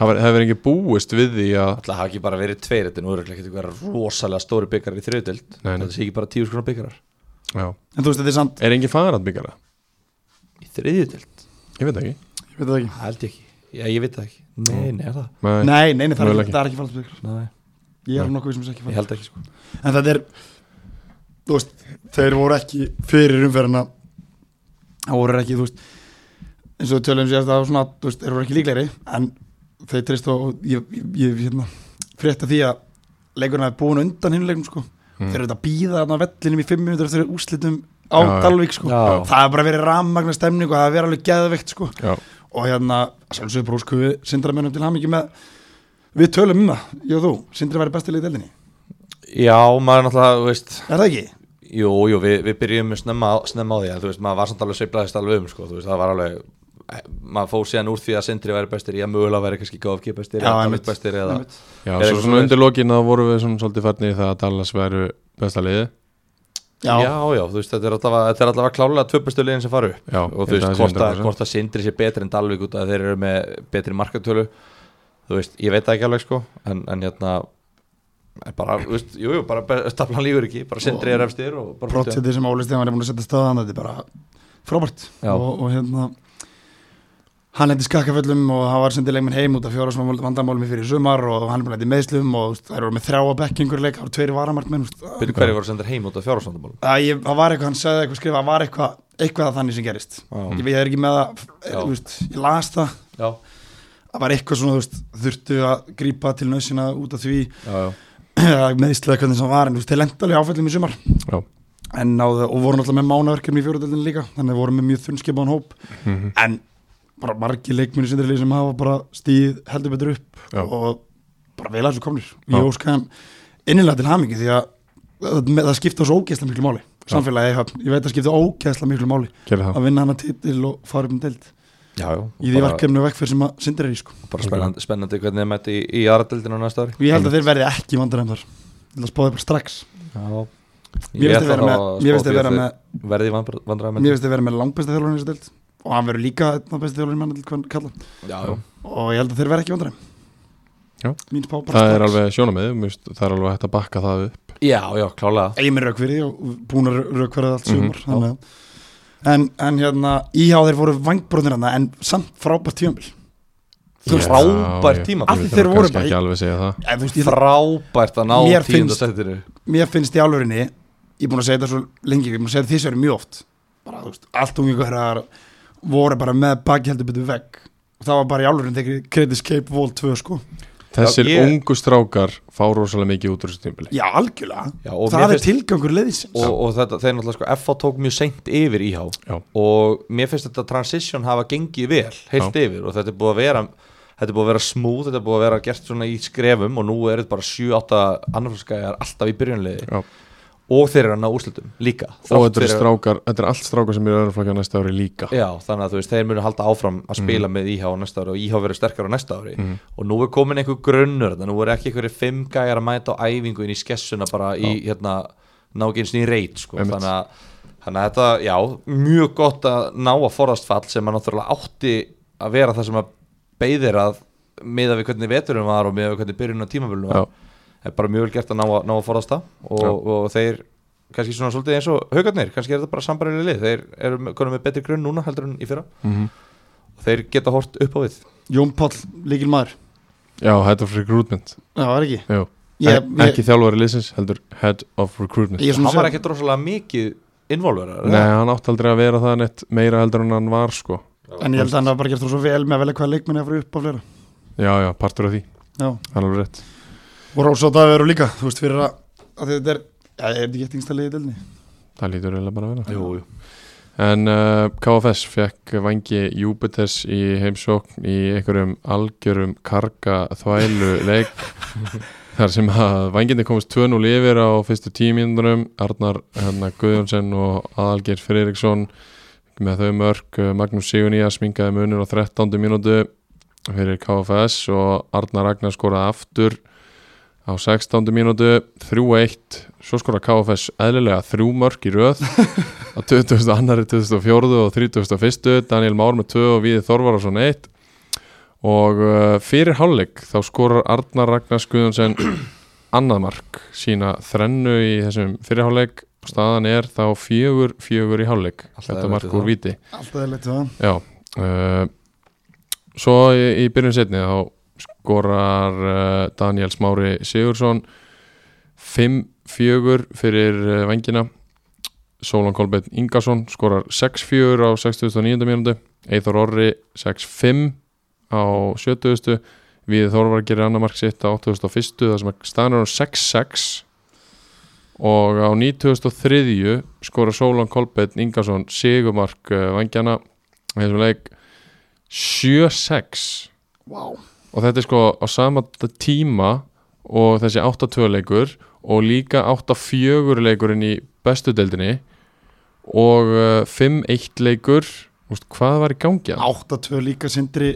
Það var- það hefur ekki búist við því að Alltaf hafa ekki bara verið tveir Þetta er nú örugglega ekki vera rosalega stóri byggar í þriðutöld Nei, nei. Þetta sé ekki bara tíu skrona byggarar já. en þú veist þetta er samt, Er engin farand byggara? Í þriðutöld? Ég veit ekki ég veit það ekki Held ég ekki Já, ég veit það ekki Nei, nei, er það Nei. Nei, nei, nei það, er Mögulega ekki, ekki. það er ekki falsbyggur Nei, Ég er nokkuð um sem þess ekki ég falsbyggur held ekki sko En þetta er, þú veist, þeir voru ekki fyrir umferðina þá voru þeir ekki, þú veist eins og við tölum síðast að það var svona, þú veist, þeir voru ekki líklegri en þeir treyst og ég, ég, ég hérna, frétta því að leikurinn hafi búin undan hinn leikum sko. Mm. þeir eru þetta að býða þarna á vellinum í 5 minútur eftir að úrslitum á Já, já. Dalvík sko. Já. það hefur bara verið rammagna stemning og það hefur verið alveg geðveikt sko. Já, og hérna, sjálfsögur brúsku við sindramennum til hamingi með við tölum um það, ég og þú, sindri væri besti leik deldinni, Já, maður er náttúrulega, þú veist er það ekki? Jú, jú, við, við byrjum snemma, á- snemma á því en þú veist, maður var samt alveg sveiflaðist alveg um sko, þú veist, það var alveg eh, maður fóð síðan úr því að Sindri væri bestir ég mögulega væri kannski KFG bestir Já, eða Dalvík einmitt. bestir eða, Einmitt. já Er svo eitthvað svona svoleiðis? undir lokin þá vorum við svona svolítið farnir í það að Dallas væru besta liði Já, já, já, þú veist, þetta er alltaf, þetta er alltaf klálega tvö bestu liðin sem fara upp Já, og ég þú held að það sé veist, hvort að, 100%. hvort að Sindri sé betri en Dalvik út af að þeir eru með betri markatölu þú veist, ég veit það ekki alveg sko en, en hérna en bara, þú veist, jú, jú, bara be- staflan lífur ekki bara Sindri er efstir og bara protsitið sem Óli Stefán er búin að setja staðan þetta er bara frábært Já. og, og hérna hann lendi skakkaföllum og hann var sendið leikminn heim út af fjóra sem vandamálum í fyrir sumar og hann er búin að lendi meðslum og þú veist, þær voru með þrjá að bekk einhver leik, það voru tveiri varamartmenn þú veist. byrju hverju voru sendir heim út af fjárhásvandamálum Það ég- það var eitthvað, hann sagði eitthvað skrifa, það var eitthvað eitthvað þannig sem gerist ég veit ég er ekki með það, Já. þú veist, ég las það já, það var eitthvað svona, þú veist, þurftu að grípa til nöðsina út af því (clears throat) já, já, meðslega hvernig sem var en þú veist, þeir lendi alveg áfællum í sumar Já, en náðu, og voru náttúrulega með mánaverkefni í fjóruðöldinu líka, þannig að voru með mjög þunnskipaðan hóp Mhm. en bara margi leikmunni sindarlið sem um hafa bara stíð heldur betur upp Já. og bara vel að þessu komnir Já. ég óska þeim innilega til hamingi því að það, með- það skipta svo ógeðslega miklu máli samfélagi, í höfn. ég veit að skipta ógeðslega miklu máli gerði það að vinna hana titil og fara upp um deild já, já og í því bara, verkefni og vekk sem að sindar er í sko bara spennandi, spennandi hvernig þeir mætti í, í aðradeldinu næsta ári og ég held að þeir verði ekki vandræðum þar ég spáði bara strax já mér finnst þeir vera með- mér finnst þeir vera með verði vandræða mér finnst þeir vera með langbesta þjálfurinn í þessu deild og hann verður líka einn besti þjálfurinn mann hvað hann kalla já, já, og ég held að þeir verða ekki vandræðum Já. mín spá bara Það er strax. alveg sjónamið, mér finnst- það er alveg hægt að bakka það upp já, já, klálega ég er með rauk fyrir því og búin að rauk fyrir það Mhm, allt sumar mm en, en hérna íhá þeir voru vangbróðnir hann en samt frábært tíumil Þú Já, veist, já. frábært Af tímabil því Ég þeir þarf voru kannski bara ekki í- alveg segja það Eða, þú veist, ég, frábært að ná Mér tíunda finnst- setinu mér finnst í álfurinni ég er búin að segja þetta svo lengi ég er búin að segja þetta því sem mjög oft bara, þú veist, allt ungu herrar voru bara með baki heldur betur vegg og það var bara í álfurinni þegar Credit Escape Vol 2 sko Þessir ég- ungu strákar fá rosalega mikið út úr þessu tímpili já algjörlega Já, og mér það er finnst- tilgangur leiðisins og, og þetta, þeir náttúrulega sko FH tók mjög seint yfir íhá Já. og mér finnst þetta transition hafa gengið vel heilt yfir og þetta er búið að vera þetta er búið að vera smúð, þetta er búið að vera gert svona í skrefum og nú er þetta bara 7-8 annarflókskæjar alltaf í byrjunliði Já. og þeir eru að ná úrslutum líka Og Þrátt þetta er fyrir- strákar, þetta er allt strákar sem eru í öðruflokka næsta ári líka Já, þannig að þú veist, þeir munu halda áfram að spila Mhm. með IH á næsta ári og IH verður sterkar á næsta ári og nú er komin einhver grunnur þannig að nú voru ekki einhverju fimm gæjar að mæta á æfingu inn í skessuna bara í hérna, ná ekki eins og í reit sko. Einmitt. þannig, að, þannig að þetta, já, mjög gott að ná að forðast fall sem að náttúrulega átti að vera það sem að beðir að miða við hvernig veturum var og miða við hvernig byrjunum á tímabölunum Já. var er bara mjög vel gert að ná að, ná að forðast það og, og þeir kannski svona svolítið eins og haugarnir, kannski er þetta bara sambarileg lið þeir eru með- konum með betri grunn núna heldur en í fyrra Mhm. og þeir geta hort upp á við Jón Páll, líkil maður Já, head of recruitment Já, það er ekki Jú. Ég, Ek- ég, Ekki þjálfari liðsins, heldur head of recruitment ég er svona hann var sér ekki drosalega mikið involverar Nei, hann átti aldrei að vera það neitt meira heldur en hann var sko En ég held að hann hafa bara gert þú svo vel með að velja hvaða leikmenni að fara upp á fleira Já, já, partur af því, Já hann er alveg rétt Og Rósa og Davi eru líka Þú veist fyrir að, að þetta er Já, er þetta ekki eitt yngsta liðið delni? Það lítur eiginlega bara að vera jú, jú. En uh, KFS fekk vangi Júpiters í heimsókn í einhverjum algjörum karga þvælu leik þar sem að vanginni komist 2-0 yfir á fyrstu tímindunum Arnar hérna, Guðjónsson og Aðalgeir Friðriksson með þau mörg eh, Magnús Sigurnýja smingaði munir á 13. mínútu fyrir KFS og Arnar Ragnar skoraði aftur á 16. mínútu 3-1, svo skoraði KFS eðlilega þrjú mörg í (laughs) röð á 2002, 2004 og 31. Daniel Már með 2 og Víði Þorvarason 1 og uh, fyrir hálfleik þá skorar Arnar Ragnars Guðjónsson (clears throat) annað mark sína þrennu í þessum fyrir hálfleik staðan er þá fjögur fjögur í hálfleik Alltaf þetta er mark þetta úr það. víti Alltaf er leitt það Já uh, Svo í, í byrjun setni þá skorar uh, Daniel Smári Sigursson 5-4 fyrir uh, vengina Sólan eh, Kolbeinn Ingarsson skorar 6-4 á 69. mínútu Eithor Orri 6-5 á 70. Við Þorvar gerir annar mark sitt á 81. þar sem staðan er á 6-6 og á 93. skorar Sólan Kolbeinn Ingarsson sigumark eh, vangjana í þessum leik 7-6 wow. og þetta er sko á sama t- tíma og þessi 8-2 leikur og líka 8-4 leikurinn í bestu deildinni og uh, 5-1 leikur Úst, hvað var í gangi að? 8-2 líka sindri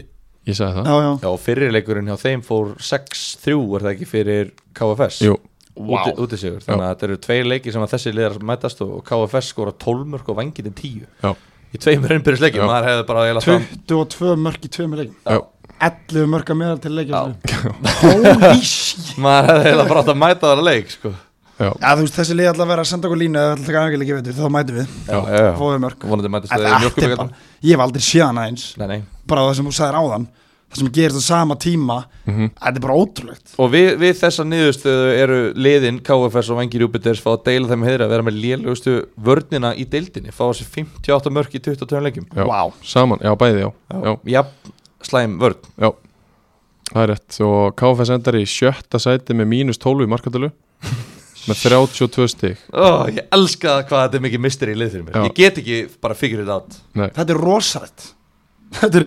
Ég sagði það já, já. Já, fyrirleikurinn hjá þeim fór 6-3 er það ekki fyrir KFS Jú, úti, úti sigur, þannig að þetta eru tvei leiki sem að þessi liðar mætast og KFS skora 12 mörg og vangið er 10 Já. í tveimur innbyrðis leiki, Já. maður hefði bara eiginlega fram- 22 mörg í tveimur leikum Já. 11 mörg að meðal til leikja Já. (laughs) Holy shit maður hefði eiginlega bara átt að mæta þar leik sko. já, Já, þú veist, þessi lið ætla að vera að senda okkur línu eða ætla að taka aðeins ekki veitur, þá mætum við, já, já, já. fóðum mörg vonandi mætist það Þetta í allt er mjölkubíkarnum bara, ég hef aldrei séð hana eins Nei, nei. bara það sem þú sagðir áðan það sem gerist á sama tíma Mhm. þetta er bara ótrúlegt og við, við þessa niðurstöðu eru liðin KFS og Vengi Júpiters fá að deila þeim heiðra að vera með lélugustu vörnina í deildinni fá þessi 58 mörg í 22 leikum já. saman, já bæði já. Já. jafn slæm vörn já, það er rétt og KFS endar í sjötta sæti með mínus 12 í markatölu með 32 stig oh, ég elska hvað þetta er mikið mystery í lið fyrir mér Já. ég get ekki bara figure it out þetta er rosalegt (laughs) þetta er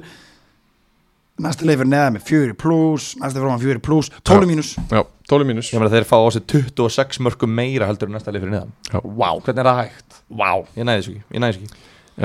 næsti leifur neða með 4 plus næsti fróman 4 plus, 12 mínus já, 12 mínus ég meina þeir fá á sig 26 mörgum meira heldur en næsta lið fyrir neðan Já. wow. hvernig er það hægt wow. ég næði þessu ekki, ég næði þessu ekki.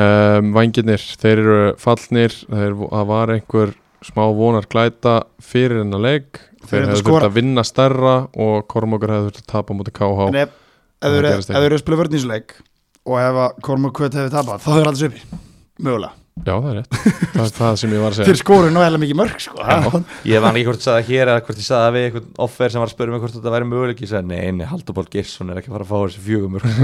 um, Vangirnir, þeir eru fallnir þeir, Það var einhver smá vonar glæta fyrir hennar leik Þeir Þeir hefðu hefðu þurft skorað. að vinna stærra og Kormokur hefðu þurft að tapa mútið KH en ef ef Það þeir eru- gerist ef ekki. þeir eru að spila vörninsleik og ef að Kormur Kvöt hefur tapað þá er alls uppi, mögulega Já, það er rétt Það er það sem ég var að þeir segja skoru nú heila mikið mörg sko. það ég var ekki hvort ég sagði það hér eða hvort ég sagði það við einhvern offer sem var að spyrja mig hvort þetta væri möguleik ég sagði nei, nei, Halduból Gesson er ekki að fara að fá þessi fjögum mörg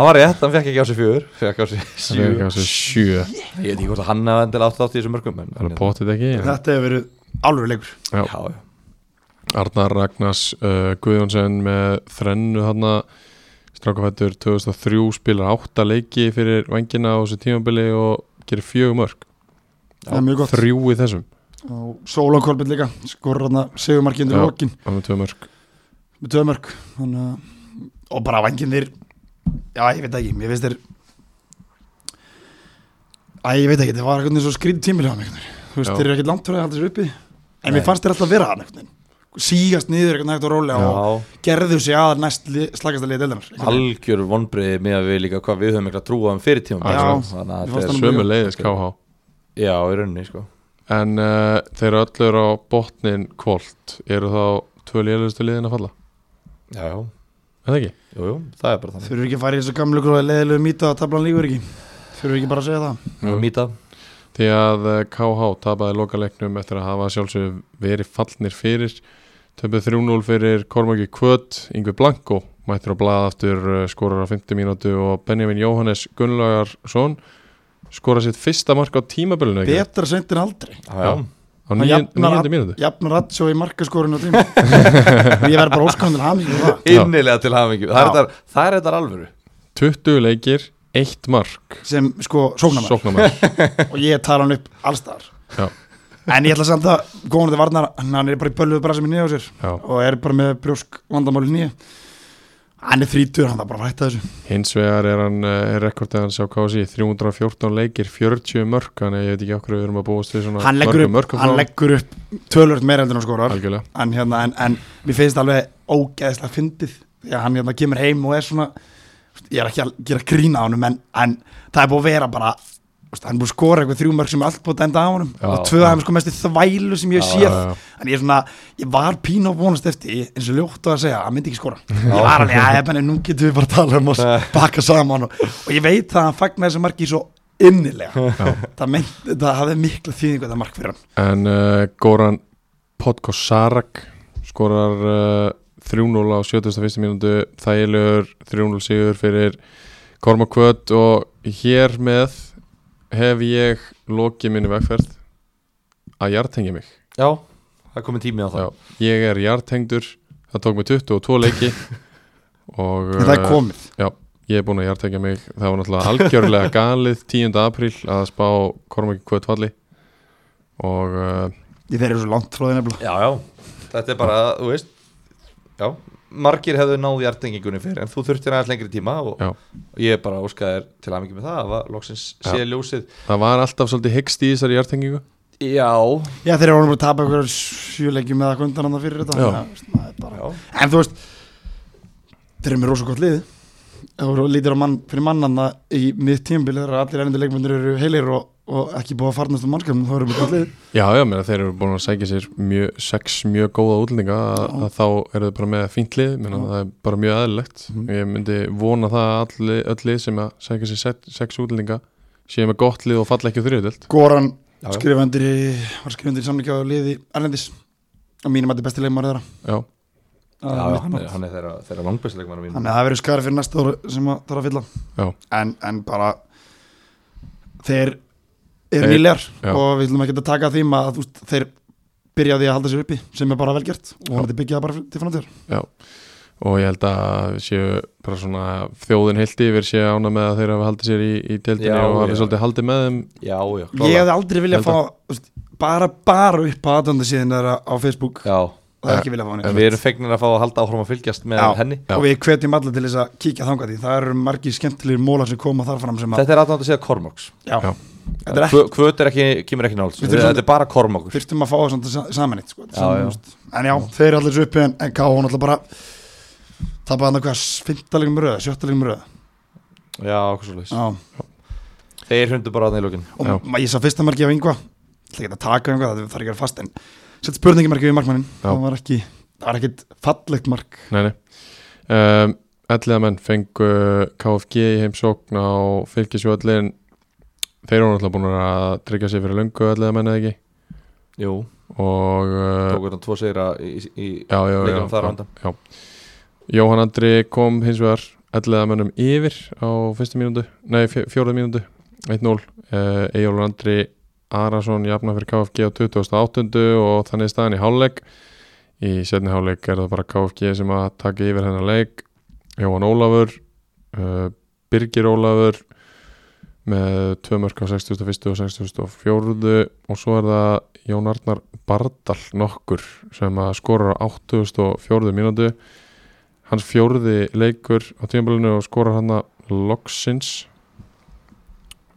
hann var rétt, hann fekk ekki á sig fjögur fekk á sig Það er ekki sjö að segja sjö ég veit ekki hvort að hann hafa endilega átt þátt í þessum mörgum en, Það en, er potið ekki en- (laughs) þetta hefur verið alveg leikur Já. já, já. Arnar Ragnars uh, Guðjónsson með þrennu þarna Strákafættur 2003 spilar átta leiki fyrir vangina á þessu tímabili og gerir fjögum örk það er mjög gott Þrjú í þessum, og Sólon Kolbjörn líka skorur hann segumarki undir Já. lokin það með tvö mörk með tvö mörg þannig að og bara vanginir já ég veit ekki, ég veist þeir Æ, ég veit ekki, það var eitthvað svo skrýð tímil á mig þú veist, Já. þeir eru ekkert langt fyrir að halda sér uppi en Nei. mér fannst þeir alltaf vera hann eitthvað sígast niður eitthvað nægt og rólega Já. og gerðu sig að næst li- slagasta liðið eldanar algjör vonbriði með að við líka hvað við höfum eitthvað trúa um fyrir tíma Já. þannig Mér að fannst þetta hann- er Sömu leiðis KH já, í rauninni sko. En uh, þeir eru öllur á botnin kvólt Eru þá tvö lélustu liðin að falla? já, já, Er það ekki? jú, jú, það er bara þannig þurfum ekki að fara í þessu gamlu gróða leðilegu mýta að tablan lífur ekki þurfum ekki bara að segja það Jú. mýta, Því að eh, KH tapaði lokaleiknum eftir að hafa sjálfsög verið fallnir fyrir Töpuð 3-0 fyrir Kormaki Kvöt Yngvi Blanko mættur á blað aftur eh, skorar á 50 mínútu og Benjamin Jóhannes Gunnlaugarsson skorar sitt fyrsta mark á tímabölinu betra seint en aldrei já, já. Já. á Hann níu- jafnar að- níundu mínútu jafn rattsjó í markaskorun og tíma (laughs) og ég verð bara óskamðin hamingi með það Já. innilega til hafingjum það er Já. þetta- það er þetta alvöru 20 leikir, 1 mark sem sko sóknarmann Sóknarmaður og ég tala hann upp allstaðar Já. en ég ætla samt að góðan þetta varnar hann er bara í bölluðu bara sem er nýja á sér Já. og er bara með brjósk vandamáli nýja hann er þrítur, hann þarf bara að hætta þessu Hins vegar er hann eh, er rekordið hans á KSI 314 leikir, 40 mörk þannig að ég veit ekki okkur við erum að búast við svona hann leggur, upp, mörkum hann frá leggur upp tölvöld meira heldur en hann skorar algjörlega, en, hérna, en, en mér finnst alveg ógeðslega fyndið því að hann hérna kemur heim og er svona ég er ekki að gera grína á honum en, en það er búið að vera bara veist, hann er búið að skora eitthvað þrjú mörg sem er allt búið að dæmda á honum Já, og tvö af þeim sko mestu þvælu sem ég hef Já, séð já, já. en ég er svona, ég var pín og vonast eftir eins og ljótt á að segja, hann myndi ekki skora ég var alveg, já, ég benni, nú getum við bara að tala um og baka saman og, og ég veit það að hann fagnar þessu marki svo innilega það, meint, það hafði mikla þýðingu þetta mark fyrir hann en uh, Goran Podkosarak skorar uh, 3-0 á 71. mínútu þægilegur 3-0 sigur fyrir Korma Kvöt og hér með hef ég lokið minni vegferð að jartengja mig já, það er komið tími á það Já, ég er jartengdur það tók mig 22 leiki og það er komið Já, Ég er búin að hjartekja mig Það var náttúrulega algjörlega galið 10. apríl að spá Kormaki Kvötvalli og uh, Ég þeir eru svo langt frá því nefnilega Já, já, þetta er bara, þú veist Já, margir hefðu náð hjartengingunni fyrir En þú þurftir aðeins lengri tíma Og Já. og ég bara óskaði þér til aðmyggjum með það Það var loksins sé ljósið það var alltaf svolítið hyggst í þessari hjartengingu Já, Já þeir eru orðin bara að tapa ykkur sjöleikjum eða kundan hann fyrir þetta Já. þannig að, veist, maður er bara... já, En þú veist Þeir eru með rosa gott lið Ef þú lítir á mann fyrir mannanna í mitt tímbil þegar allir ennandi leikmyndir eru heilir og, og ekki búið að farnast um mannskapnum þá eru við gott lið Já, já, meina, þeir eru búin að segja sér mjög, sex mjög góða útlendinga að, Já. að þá eru þau bara með fínt lið meina, Já. það er bara mjög eðlilegt Mhm. Ég myndi vona það að all, öll lið sem að segja sér sex, sex útlendinga séu með gott lið og falla ekki þriðutöld Goran já, já. skrifandir í, var skrifandir í samlíkja á liði Erlendis og mínum að þetta er besti leikmar þeirra Já, Það já er mitt hann, mat. er, hann er þeirra, þeirra langbæsleikmanna mín Þannig að það verður skar fyrir næsta ára sem að þarf að fylla Já. en, en bara þeir eru Þeir- nýlegar já. og við viljum ekki að taka því að þú veist, þeir byrja á því að halda sér uppi sem er bara velgjert og hann er byggjað bara til framtíðar og ég held að séu bara svona þjóðin heilt yfir séu ána með að þeir hafa haldið sér í, í deildinni Já, og hafi já. svolítið haldið með þeim Já, já, Ég hefði aldrei viljað Ég fá held þú veist, bara bara upp á aðdönda síðan þeirra á Facebook Já, það er ekki viljað fá hann en við erum fegnir að fá að halda áhrum að fylgjast með Já. henni Já. og við hvetjum alla til þess að kíkja þangað því það eru margir skemmtilegir mólar sem koma þar fram sem að Þetta er aðnátt að segja Kormoks Já. já, þetta er ekki Kvöt er ekki, kemur ekki nált Við þurfum Þetta er bara Kormokur þurftum að fá það samt saman eitt sko, Já, já. saman, þú veist. en já, þeir eru allir svo uppi en, en K.O. náttúrulega bara tapaði hann eitthvað fintalegum röð, sjöttalegum röð Já, okkur svo leys já. Þeir hundu bara aðna í lókin og Já. ma- ég sá fyrsta marki af yngva ætla ekki að taka yngva, það þarf ekki að vera fast en sett spurningi marki við markmannin Já. það var ekki, það var ekkit fallegt mark Nei, nei um, Elliða menn fengu KFG í heimsókn á fylgisjóðallin Þeir eru náttúrulega búin að tryggja sér fyrir löngu elliða menn eða ekki Jú, og uh, tókur hann tvo sigra í, í, í já, já, já, leikunum þar á já, undan já. Jóhann Andri kom hins vegar elliða mennum yfir á fyrstu mínútu nei, fjóruð mínútu 1-0 uh, Ejólfur Andri Arason jafna fyrir KFG á 2008 og þannig er staðan í hálfleik í setni hálfleik er það bara KFG sem að taka yfir hennar leik Jóhann Ólafur uh, Birgir Ólafur með tvö mörk á 61. og 64. og svo er það Jón Arnar Bardal nokkur sem að skorar á 84. mínútu hans fjórði leikur á tímabölinu og skorar hann að loksins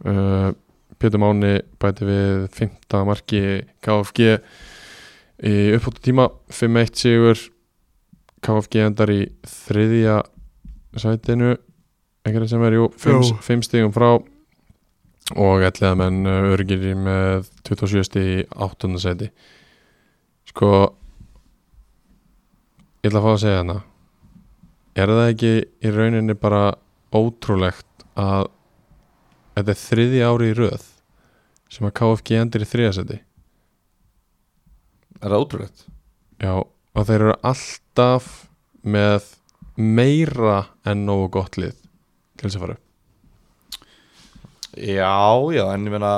uh, Pétur Máni bæti við 15. marki KFG í upphóttu tíma 5-1 sigur KFG endar í þriðja sætinu einhverja sem er jú 5, Jú. 5 stígum frá og ætliða menn örgir í með 27 stíg í 8. sæti sko ég ætla að fá að segja hana er það ekki í rauninni bara ótrúlegt að þetta er þriði ári í röð sem að KFG endur í þriðasæti Er það ótrúlegt? já og þeir eru alltaf með meira en nógu gott lið til þess að fara upp. Já, já, en ég meina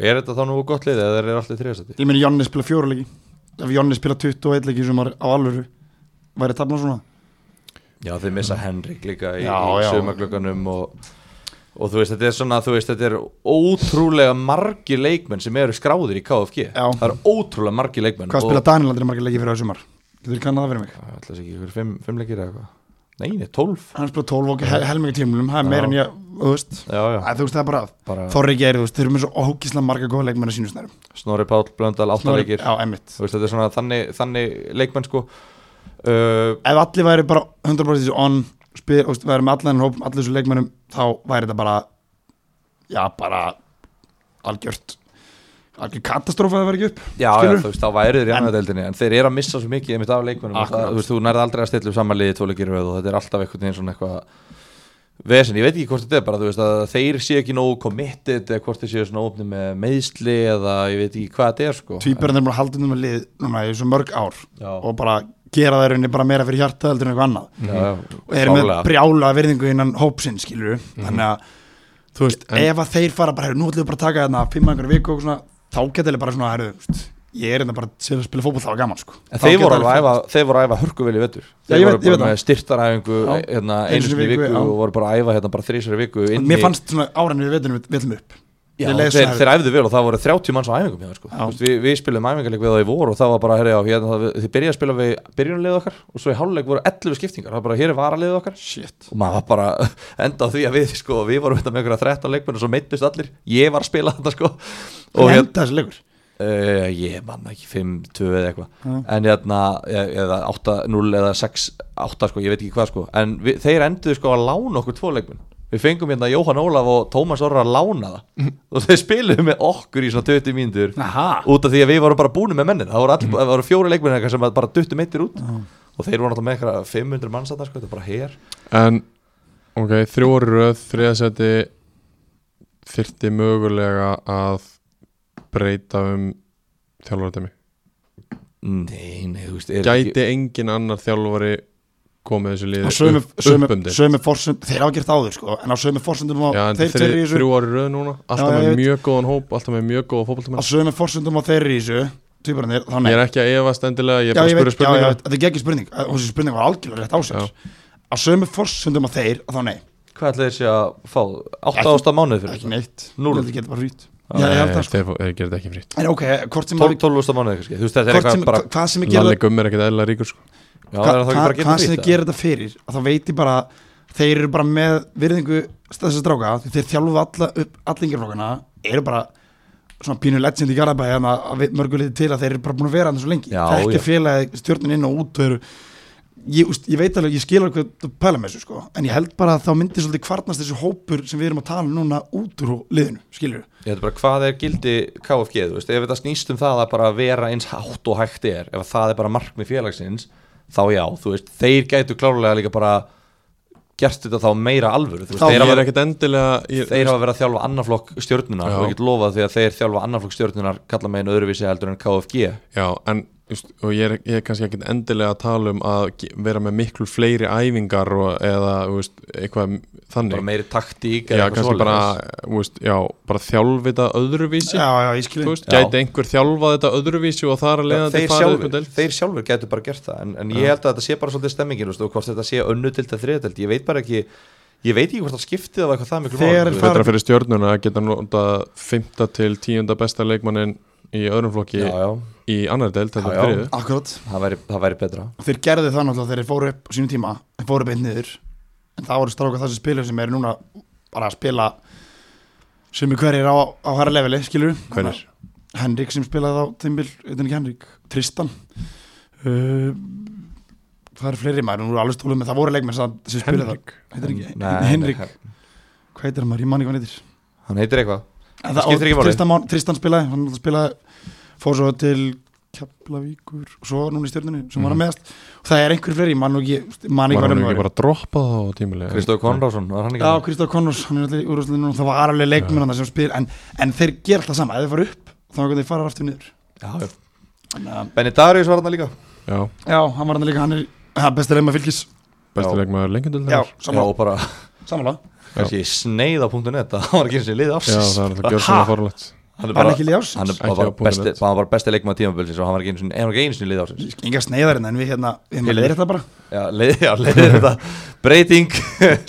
Er þetta þá nú gott lið eða er þetta allir þriðastæti? ég meni Jonni spila fjóruleiki ef Jonni spila 21 leiki sem var á alvöru væri tapna svona Já, þeir missa Henrik líka í, Já, í já. sömaglöganum og, og þú veist, þetta er svona, þú veist, þetta er ótrúlega margir leikmenn sem eru skráðir í KFG Já. Það eru ótrúlega margir leikmenn hvað spila Daniel aldrei margir leiki fyrir þessu mar getur kannað það fyrir mig Það ætlaðs ekki ykkur fimm, fimm leikir eða eitthvað Nei, nei, tólf hann spila 12 og hel helmingi tímlum það er meira en ég, þú veist Já, já, Æ, þú veist það er bara að bara Þorri Geir, þú veist, þeir eru með svo ógísla marga góða leikmenn að sínu snærum Snorri Páll, Blöndal, átta leikir Já, emmitt Þú veist, þetta er svona þannig, þannig leikmenn sko uh, Ef allir væri bara 100% on spyr, þú veist, væri með allan hóp, allir þessu leikmennum þá væri þetta bara já, bara algjört algjör katastrófa að það væri ekki upp Já, já, Skilurðu? þú veist, þá værið þér í En- annaðdeldinni en þeir eru að missa svo mikið einmitt af leikmennum og það, Akkurát. þú veist, þú nærði aldrei að stilla upp samanliði tóleikir og þetta er alltaf einhvern veginn svona eitthvað vesen, ég veit ekki hvort þetta er bara, þú veist, að þeir séu ekki nógu committed eða hvort þeir séu svona ofni með meðsli eða ég veit ekki hvað þetta er sko Tvíberinn er búin að halda um með lið núna í svo mörg ár Já, og bara gera það í rauninni bara meira fyrir hjarta heldur en eitthvað annað já, já, mm. og eru með klálega. brjála virðingu innan hópsinn skilur þannig að þú veist, En- hérna ef að þeir fara bara, "Heyrðu, nú ætlum við bara að taka þarna fimm einhverju viku og svona, þá geta þeir bara svona, herru, þú veist, ég er þetta bara sem að spila fótboll það var gaman sko En Þá þeir geta voru, alveg alveg að fótbolt. æfa, þeir voru að æfa hörkuvel í vettur Já, ég Þeir veit- voru ég bara veit með styrtaræfingu Já. hérna, einu sinni í viku og voru bara að æfa hérna, bara þrísar í viku inni. Mér fannst svona áran við veitum við veitum upp já, ég leið þeir, svona- þeir æfðu vel og það voru 30 manns á æfingum hjá, þeim, sko. Já. Þú veist, við, við spilum æfingarleik við það í voru og það var bara, herri, já, hérna, það- þið byrjaði að spila við byrjunarlið okkar og svo í háluleik voru 11 skiptingar það var bara, hér er varalið okkar Shit og maður var bara (laughs) enda á því að við sko, við vorum þetta með einhverja 13 leikmenn og svo meittist allir, ég var að spila þetta sko og Og hérna, henda þessi leikur uh, ég manna ekki 5-2 eða eitthvað Já. en hérna, e- eða 8-0 eða 6-8 sko, ég veit ekki hvað sko en við, þeir enduðu sko að lána okkur tvo leikmenn við fengum hérna Jóhann Ólaf og Tómas Orra að lána (laughs) það og þeir spiluðu með okkur í svona 20 mínútur Aha út af því að við vorum bara búinu með mennin það voru, all, Mhm. það voru fjóri leikmenn eða eitthvað sem bara duttu meittir út og þeir voru náttúrulega með eitthvað 500 manns þarna, sko, þetta er bara her En, ok, þrjú orður röð, þriðasetti þyrfti mögulega að breyta um þjálfaradæmi. Mm. Nei, nei, þú veist er Gæti engin annar þjálfari komið þessu liði Á sömu, upp, sömu, upp um þig? sömu forsund Þeir hafa gert áður sko En á sömu forsundum á Já, en þeir þri, tveir í þessu þrjú orður röð núna, alltaf Já, já, með ég veit. mjög góðan hóp, alltaf með mjög góða Á fótballtamenn. sömu forsundum á þeir í þessu Týparinir Þá nei Ég er ekki að efast endilega, ég er Já, bara ég að veit, spyrja já, já, spurningar. þetta er ekki spurning Að- Hún sem spurning var algjörlega rétt á sér Á sömu forsundum á þeir Þá nei Hvað ætlaði þessi að fá? 8 Ekki- ásta mánuði fyrir Ekki neitt Núll. Þetta getur bara frýtt Já, Já, ég held það Nei, sko þeir fá- þeir gera þetta ekki fritt. En ok, hvort sem 12 ásta mánuði kannski Þú veist þetta er hvort eitthvað sem, bara hva- hvað sem ég gera Lalli Gumm er ekkert eðla ríkur sko. Já, hva, það er það ekki bara að hvað sem geta þið gerir þetta fyrir að þá veit ég bara þeir eru bara með virðingu þessi stráka því þeir þjálfu alla upp allingjaflokkana eru bara svona pínu legend í Garabæði en að mörguleiti til að þeir eru bara búin að vera hann svo lengi Já, það er já. ekki félagi stjórnin inn og út og eru, ég, úst, ég veit alveg, ég skilur hvað þú pæla með þessu sko, en ég held bara að þá myndi svolítið kvarnast þessi hópur sem við erum að tala um núna út úr liðinu, skilur Ég veit bara hvað er gildi KFG Þú veist, ef þetta snýst um það að bara vera eins hátt og hægt er Ef það er bara markmið félagsins Þá já, þú veist, þeir gætu klárlega líka bara Gert þetta þá meira alvöru Þú veist, Já, þeir Ég hafa er ekkert endilega, ég, þeir hafa verið að þjálfa annar flokk stjórnunar Já. og ég get lofað því að þeir þjálfa annar flokk stjórnunar kalla megin öðruvísi heldur en KFG Já, en just, og ég er, ég er kannski ekkert endilega að tala um að ge- vera með miklu fleiri æfingar og, eða þú veist, eitthvað m- þannig bara meiri taktík Já, eða eitthvað kannski bara, svoleiðis. þú veist, já, bara þjálfi þetta öðruvísi já, já, ég þú skilur veist, Já. Gæti einhver þjálfað þetta öðruvísi og þar að Já, leiða þeir, upp um sjálfur, deild? þeir sjálfur getur bara gert það en, en ég held að þetta sé bara svolítið stemmingin veist, og hvort þetta sé önnutild að þriðutild ég veit bara ekki, ég veit ekki hvort það skiptið af eitthvað það miklu Þegar máli, er þú farið- veist. Betra fyrir stjörnuna að geta nota 5. til 10. besta leikmannin í öðrum flokki já, já, í annar deild þetta Já, já. er þriðu akkurat það væri, það væri betra þeir gerðu það náttúrulega þegar þeir fóru upp á sínum tíma, þeir fóru upp einn niður en það voru stráka þessi spilar sem eru núna bara að spila sem er hverjir á, á hæra leveli, skilur Hverjir? Henrik sem spilaði á tímbil, þetta er ekki Henrik, Tristan uh, það eru fleiri maður, nú er alveg stólum með það voru leikmenn sem sem spilaði það, heitir ekki Nei, Henrik, nei, hvað heitir hann maður, ég man ekki hvað hann heitir hann heitir eitthvað En Það skiptir og ekki máli. Tristan, Már- Tristan spilaði, hann náttúrulega spilaði fór svo til Keflavíkur og svo núna í stjörnunni sem Mhm. var að meðast og það er einhver fleiri, mann og ekki mann ekki Var hvað hann hann ekki var bara að droppa það á tímulega Kristóf Konrásson, var hann ekki Já, Kristóf Connors, hann er allir úrúslega núna það var aðalega leikmenn hann sem spyr en, en þeir gera alltaf sama, ef þeir fara upp þá er þeir fara aftur niður Já, já. en, uh, Benny Darius var hann líka Já, Já, hann var hann líka, hann er ha, besti leikmenn fylgis besti Já. leikmaður Já, lengjandöldar já, samanlá, og bara, samanlá kannski sneið.net (laughs) það var ekki eins og lið Já, það afsins er alltaf gjörsamlega Ha? forlætt hann er Var hann bara ekki lið ársins? hann er- Ekki hann var á punktur besti- net. hann var besti leikmaður tímabilsins og hann var ekki einu sinni- hann var ekki einu sinni í lið ásins Enga sneiðarinn, en við hérna, við hérna Pilur. leiðir þetta bara já, leið, já, leið (laughs) þetta breyting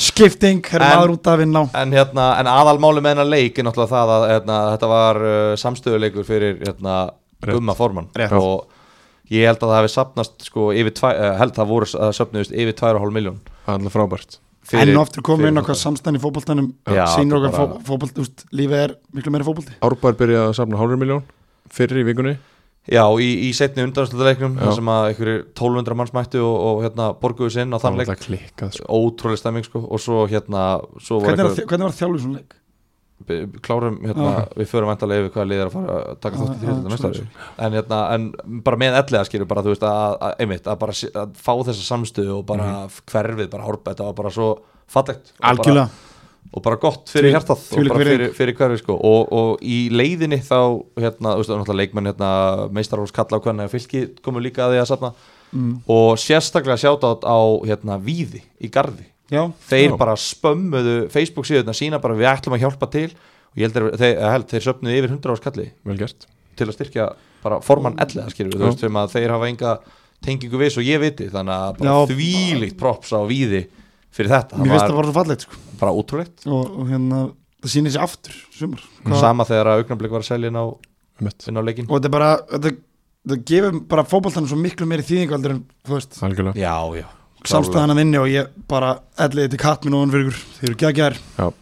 Skipting, hér En- er maður út af vinna á En, hérna, en aðalmáli með hennar leik er náttúrulega það að hérna, þetta var uh, samstöðuleikur fyrir hérna, Rétt. Gumma Forman Rétt. og ég held að það hefði sapnast sko, yfir tvæ, uh, held það voru uh, söpnuðist yfir 2,5 miljón Það er alltaf frábært En aftur komum við inn á hvað samstæðan í fótboltanum Já, þetta sýnir okkar bara- fó- fótbolt, úst, lífið er miklu meira fótbolti Árbær byrjaði að safna hálfur miljón fyrir í vikunni Já, í, í setni undanstölduleiknum Já. þar sem að einhverjir 1200 manns mættu og, og hérna, borguðu sinn á þann var leik alltaf klikkað sko. ótrúlega stemming sko og svo hérna svo var Hvernig, er, einhver, að- hvernig var þjálfur svona leik? b- klárum hérna, við förum endalega yfir hvaða liðar að fara að taka þátt í Já, þrjóðum já, næsta ári en, hérna, en bara með ellega skilur bara þú veist að, að, einmitt, að bara sé- að fá þessa samstöðu og bara hverfið bara hórpa þetta var bara svo fallegt og bara, Mhm. Algjörlega og bara gott fyrir Því- hjartað og þvílík bara virðing. fyrir, fyrir hverfið sko og, og í leiðinni þá hérna, þú veist, náttúrulega leikmenn hérna, meistarhús kalla á hvernig að fylki komu líka að því að safna og sérstaklega sjátátt á hérna, víði í garði Já, þeir Já. bara spömmuðu Facebook síðuna sína bara við ætlum að hjálpa til og ég held þeir, þeir, held, þeir söpnuðu yfir 100 áskalli Vel gert til að styrkja bara formann ellega skilur við, Já. þú veist, sem að þeir hafa enga tengingu við svo ég viti, þannig að bara Já. þvílíkt props á víði fyrir þetta, mér það finnst það var bara svo fallegt sko. bara ótrúleitt og, og hérna, það sýnir sér aftur sumar, Hvað- sama þegar að augnablik var að selja inn á, mitt, inn á leikin og þetta er bara þetta, þetta gefur bara fótboltanum svo miklu meiri þýðingaldur en þú veist, algjörlega já, já samstæðan að vinni og ég bara elliði til katt minn ofan fyrir ykkur, þeir eru geggjær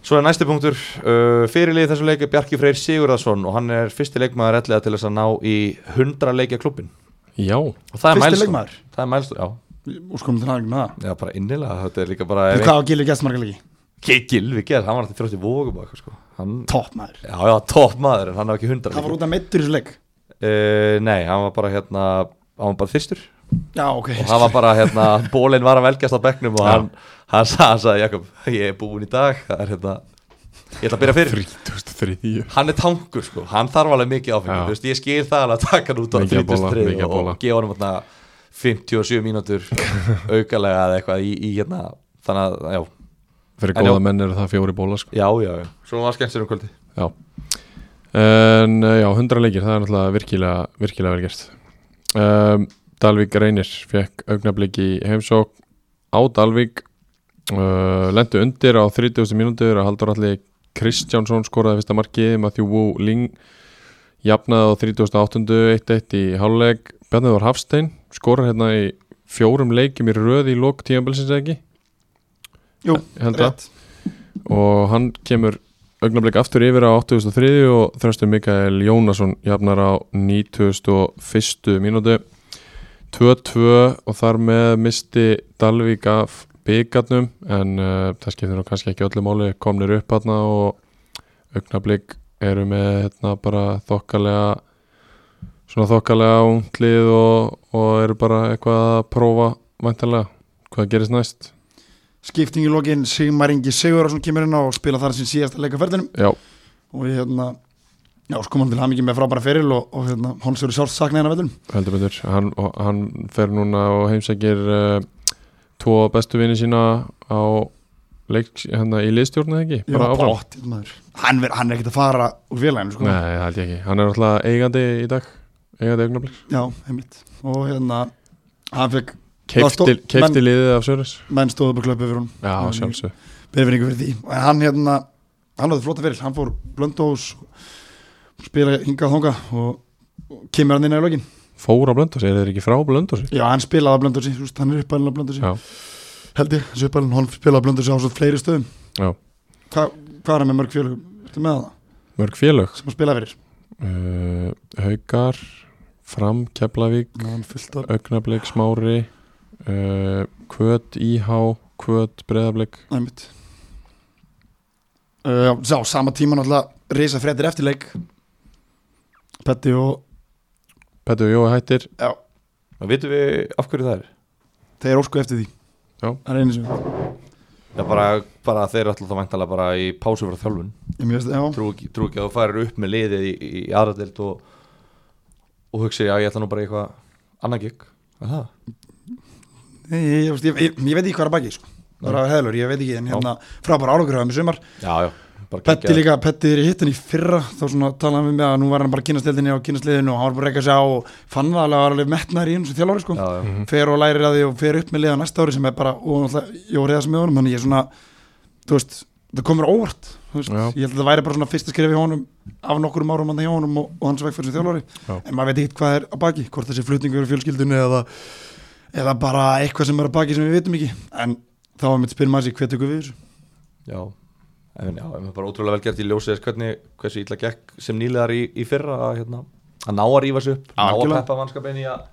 Svo er næsti punktur uh, fyrirlið þessu leik er Bjarki Freyr Sigurðarsson og hann er fyrsti leikmaður ellega til þess að ná í 100 leikja klubbin Já, og það er fyrsti mælstofn leikmaður, það er mælstofn, já, og sko til aðeins með það já, bara innilega þetta er líka bara Þú hvað á Gilvi gæst marga leiki, Gilvi gerð, hann var alltaf þrjótt í vógum og eitthvað sko hann, topp maður já, já, topp maður en hann var ekki 100 það var út að meittur í þessu leik uh, nei, hann var bara hérna hann var bara þyrstur já, ok, og hann var bara hérna, (laughs) bólinn var að velgjast á bekknum og Já. hann, hann sagði, hann sagði, Jakob ég er búinn í dag, það er hérna ég ætla að byrja fyrir 2003 hann er tankur sko, hann þarf alveg mikið áfengi Já. þú veist, ég skil það alveg að taka hann út á Mikið að bóla, 33 mikið að og, bóla. og gefa hann hérna, 57 (laughs) mínútur aukalega eða eitthvað í, í hérna þannig að, já, Fyrir En góða já. menn eru það fjóri bóla sko. já, já, já svo var skemmt sér um kvöldi Já En uh, já, 100 leikir, það er náttúrulega virkilega, virkilega vel gert um, Dalvík Reynir fekk augnablik í heimsók á Dalvík uh, Lendu undir á 30. mínútur að Haldur Alli Kristjánsson skoraði fyrsta markið Matthew Wu Ling jafnaði á 38. 1-1 í háluleik Bjarniður Hafstein skorar hérna í fjórum leikjum í röð í lok tíðanbilsins ekki jú, held að rétt og hann kemur augnablik aftur yfir á 83 og þröstur Mikael Jónasson jafnar á 91. mínútu 2-2 og þar með misti Dalvík af byggarnum en uh, það skiptir nú kannski ekki öllu máli komnir upp hann og augnablik eru með hérna bara þokkalega svona þokkalega unglið og, og eru bara eitthvað að prófa væntanlega hvað gerist næst skipting í lokin, Sigmar Ingi Sigurðarsson kemur inn á og spila þar sem síðasta leik á ferðinum já, og ég hérna já, sko kom hann til hann með frábæra feril og, og hérna, hans eru sjálfs saknaði hann að vellum heldur betur hann, og hann fer núna og heimsækir uh, tvo bestu vini sína á leik hérna í liðstjórna ekki ég var bótt, hérna, maður. hann, ver- hann er ekkert að fara úr félaginu sko. nei, það held ég ekki, hann er alltaf eigandi í dag eigandi augnablik já, heimilt og hérna, hann fekk stó- keifti, keifti menn- liðið af Sörus menn stóðu bara klöpu fyrir hún já, Nei. sjálfsög, befinningu fyrir því en hann hérna, hann hafði flota feril hann fór blöndós spila hingað þonga og og kemur hann inn í lokin fór á blöndósi er þeir ekki frá blöndósi já, hann spilaði að blöndósi, hann er uppalinn að blöndósi já, held ég, þessu uppalinn, hann spilaði að blöndósi á svo fleiri stöðum Já. Hva, hvað er hann með mörg fjölugum, ertu með það mörg félög sem að spila fyrir uh, Haukar Fram, Keflavík, Já, hann er fullt af Augnablik, Smári uh, Kvöt, Íhá Kvöt, Breiðablik næmitt uh, sá, sama tíma náttúrulega reysa fréttir eftir leik Petti og Petur Jói hættir og vitum við af hverju það er þeir ósku eftir því Já. það er einu sem já, bara, bara þeir ætla þá væntalega bara í pásu frá þjálfun ég mjög veist, já, trú ekki, trú ekki að þú farir upp með liðið í, í aðradelt og, og hugsi, já, ég ætla nú bara í eitthvað annað gig Er það? Nei, ég, ég, ég, ég, ég veit ekki hvað er að baki sko. bara heðlur, ég veit ekki en hérna frábæra álokur hafði með sumar já, já, bara Petti geggjað. líka, Petti er í hittin í fyrra þá svona talaði við með að nú var hann bara kynastildinni á kynastliðinu og hann var bara ekki að sjá og fann það alveg að var alveg metnar í eins og þjálfari sko. já, Mhm. já. fer og lærir að því og fer upp með liða næsta ári sem er bara, og náttúrulega, ég voru reyðast með honum þannig ég er svona, þú veist það komur á óvart, þú veist, Já. ég held að það væri bara svona fyrsta skrif í honum af nokkurum árum hann hjá honum og, og hans vegferð sem þjálfari Já. en maður veit ekkert hvað er að baki, hvort þessi flutningur í fjölskyldunni eða, eða bara eitthvað sem er að baki sem við vitum ekki en þá er mitt spyr maður sér hver tökum við þessu Já, en já, en bara ótrúlega vel gert í ljósið þess hvernig, hversu illa gekk sem nýlegar í, í fyrra að, hérna, að ná að rífa sig upp, ná að Algjörlega. peppa mannskapin í að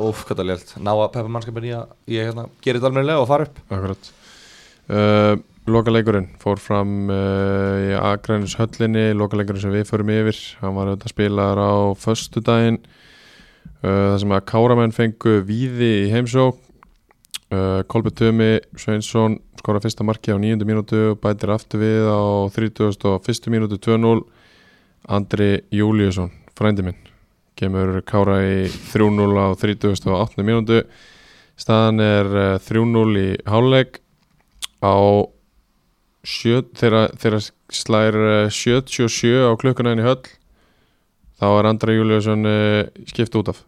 Óf, hvað það er lélt, ná að peppa mannskapin í að, í að hérna, gera þetta almennilega og fara upp Akkurat uh, Lokaleikurinn fór fram uh, í Akrænus höllinni Lokaleikurinn sem við förum yfir Hann var auðvitað spilaður á föstudaginn uh, Það sem að Káramenn fengu víði í heimsók uh, Kolbjörn Tumi Sveinsson skora fyrsta marki á 9. mínútu og bætir aftur við á 31. mínútu 2-0 Andri Júliusson, frændi minn kemur Kára í 3-0 á 38. mínútu Staðan er eh, 3-0 í háluleik á sjö, þeirra, þeirra slær eh, 77 á klukkuna inn í höll þá er Andra Júliusson uh, skipt út af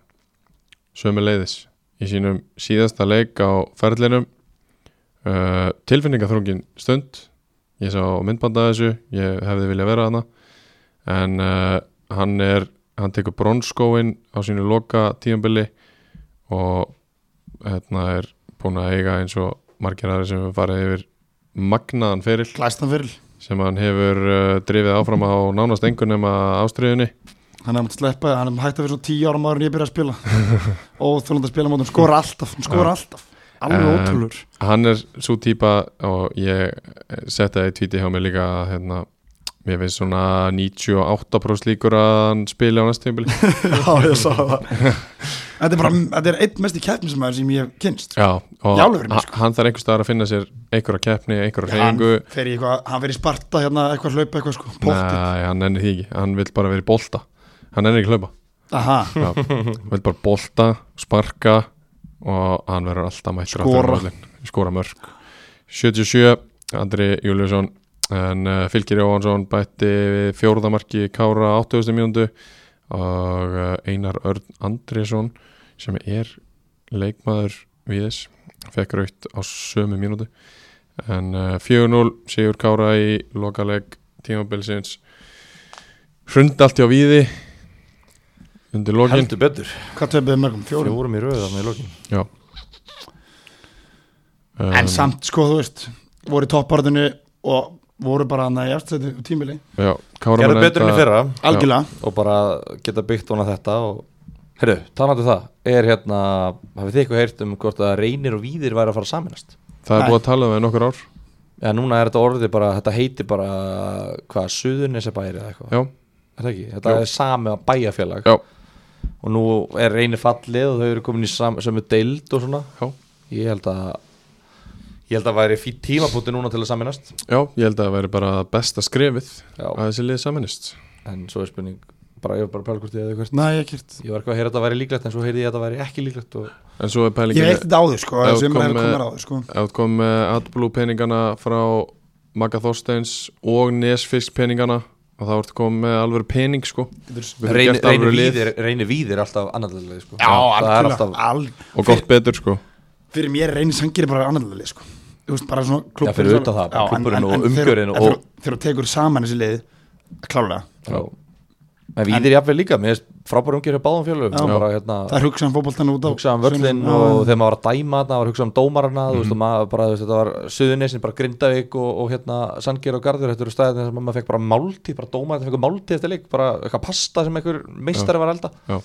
sömu leiðis í sínum síðasta leik á ferlinum uh, tilfinningaþrungin stund ég sá myndbanda af þessu ég hefði viljað vera hana en uh, hann er hann tekur bronskóin á sínu loka tíambili og hérna er búin að eiga eins og margir aðri sem hefur farið yfir magnaðan feril Glæstan fyrir sem hann hefur uh, drifið áfram á nánast engu nema ástriðunni Hann hefði mátt sleppa það, hann hefði hægt að fyrir svona tíu ára maður en ég byrja að spila (laughs) og þjóðland að spila mótum, skora alltaf, hann skora alltaf alveg Um, ótrúlur hann er svo típa og ég setta það í tvíti hjá mér líka að, hérna, mér finnst svona 98% líkur að hann spila á næst tímbili (laughs) (laughs) Já, ég sá það (laughs) Þetta er bara, þetta er einn mest í keppnismæður sem ég hef kynst Já, og Í alvörunni, hann- hann þarf einhver staðar að finna sér einhverja keppni, einhverja Hann reyningu fer í eitthvað, hann fer í Sparta hérna, eitthvað hlaupa eitthvað sko, pottið Nei, hann ennir því ekki, hann vil bara vera í bolta hann ennir ekki hlaupa Aha, Já, hann vil bara bolta, sparka og hann verður alltaf mættur Skora. aftur á völlinn. skora mörg 77, Andri Júliusson en uh, Fylgir Jóhansson bætti við fjórðamarki Kára á 80. mínúndu og uh, Einar Örn Andriðsson sem er leikmaður við þess, fekk raukt á sömu mínútu en uh, 4-0 sigur Kára í lokaleg tímabilsins hrund allt hjá víði undir lokin heldur betur, hvað töpuðu mörgum, fjórum fjórum í röða með lokin Já um, En samt, sko, þú veist, voru í topparðinu og voru bara hann að ég eftir tímili já, Kára gerðu menn betur enn í enda- fyrra Algjörlega, og bara geta byggt vona þetta og heyrðu, talandi um það er hérna, hafið þið eitthvað heyrt um hvort að reynir og víðir væri að fara að saminast Það er Nei. búið að tala um það í nokkur ár eða núna er þetta orðið bara, þetta heitir bara hvað, Suðurnesabæri eða eitthvað Já, er það ekki, þetta Jú. er sami að bæjafélag já, og nú er reynir fallið og þau eru komin í sam, sömu deild og svona já, ég held að ég held að væri fýtt tímabúti núna til að saminast já Ég held að það væri bara besta skrefið Já. að þessi lið saminist en svo er spurning, bara ég var bara að pæla hvort ég hefði hvert næ, ég kert ég var eitthvað að heyra að þetta væri líklegt en svo heyrði ég að þetta væri ekki líklegt og En svo er Ég pælingin veit þetta áður, sko, Já, þessi kom, umræður eh, komar áður, sko Ef þú kom með AdBlue peningana frá Magga Þorsteins og Nesfisk peningana og þá ertu komið með alveg pening sko Við höfum reynir gert alvöru reyni lið víðir, reyni víðir er alltaf annarlega sko. Já, það er algjörlega, alltaf algjörlega og gott betur sko fyrir mér reynir sangir bara annarlega sko. Þú veist, bara svona klúbbur Já, fyrir utan það, bara klúbburinn og umgjörðin og- þegar þú tekur saman þessi lið klálega, já. en víðir jafnveg líka, mér finnst frábæra umgjörð hjá báðum fjölum Já. bara hérna það er hugsaðan fótboltan út á hugsa um völlin Já, og þegar maður var að dæma það var hugsa um dómarana, þú Mhm. veist, og maður bara þú veist, þetta var Suðunesin, bara Grindavík og, og hérna Sandger og Garður, þetta eru staðið þar sem maður fekk bara máltíð, bara dómarinn fekk máltíð eftir leik, bara eitthvað pasta sem einhver meistari var að elda Já,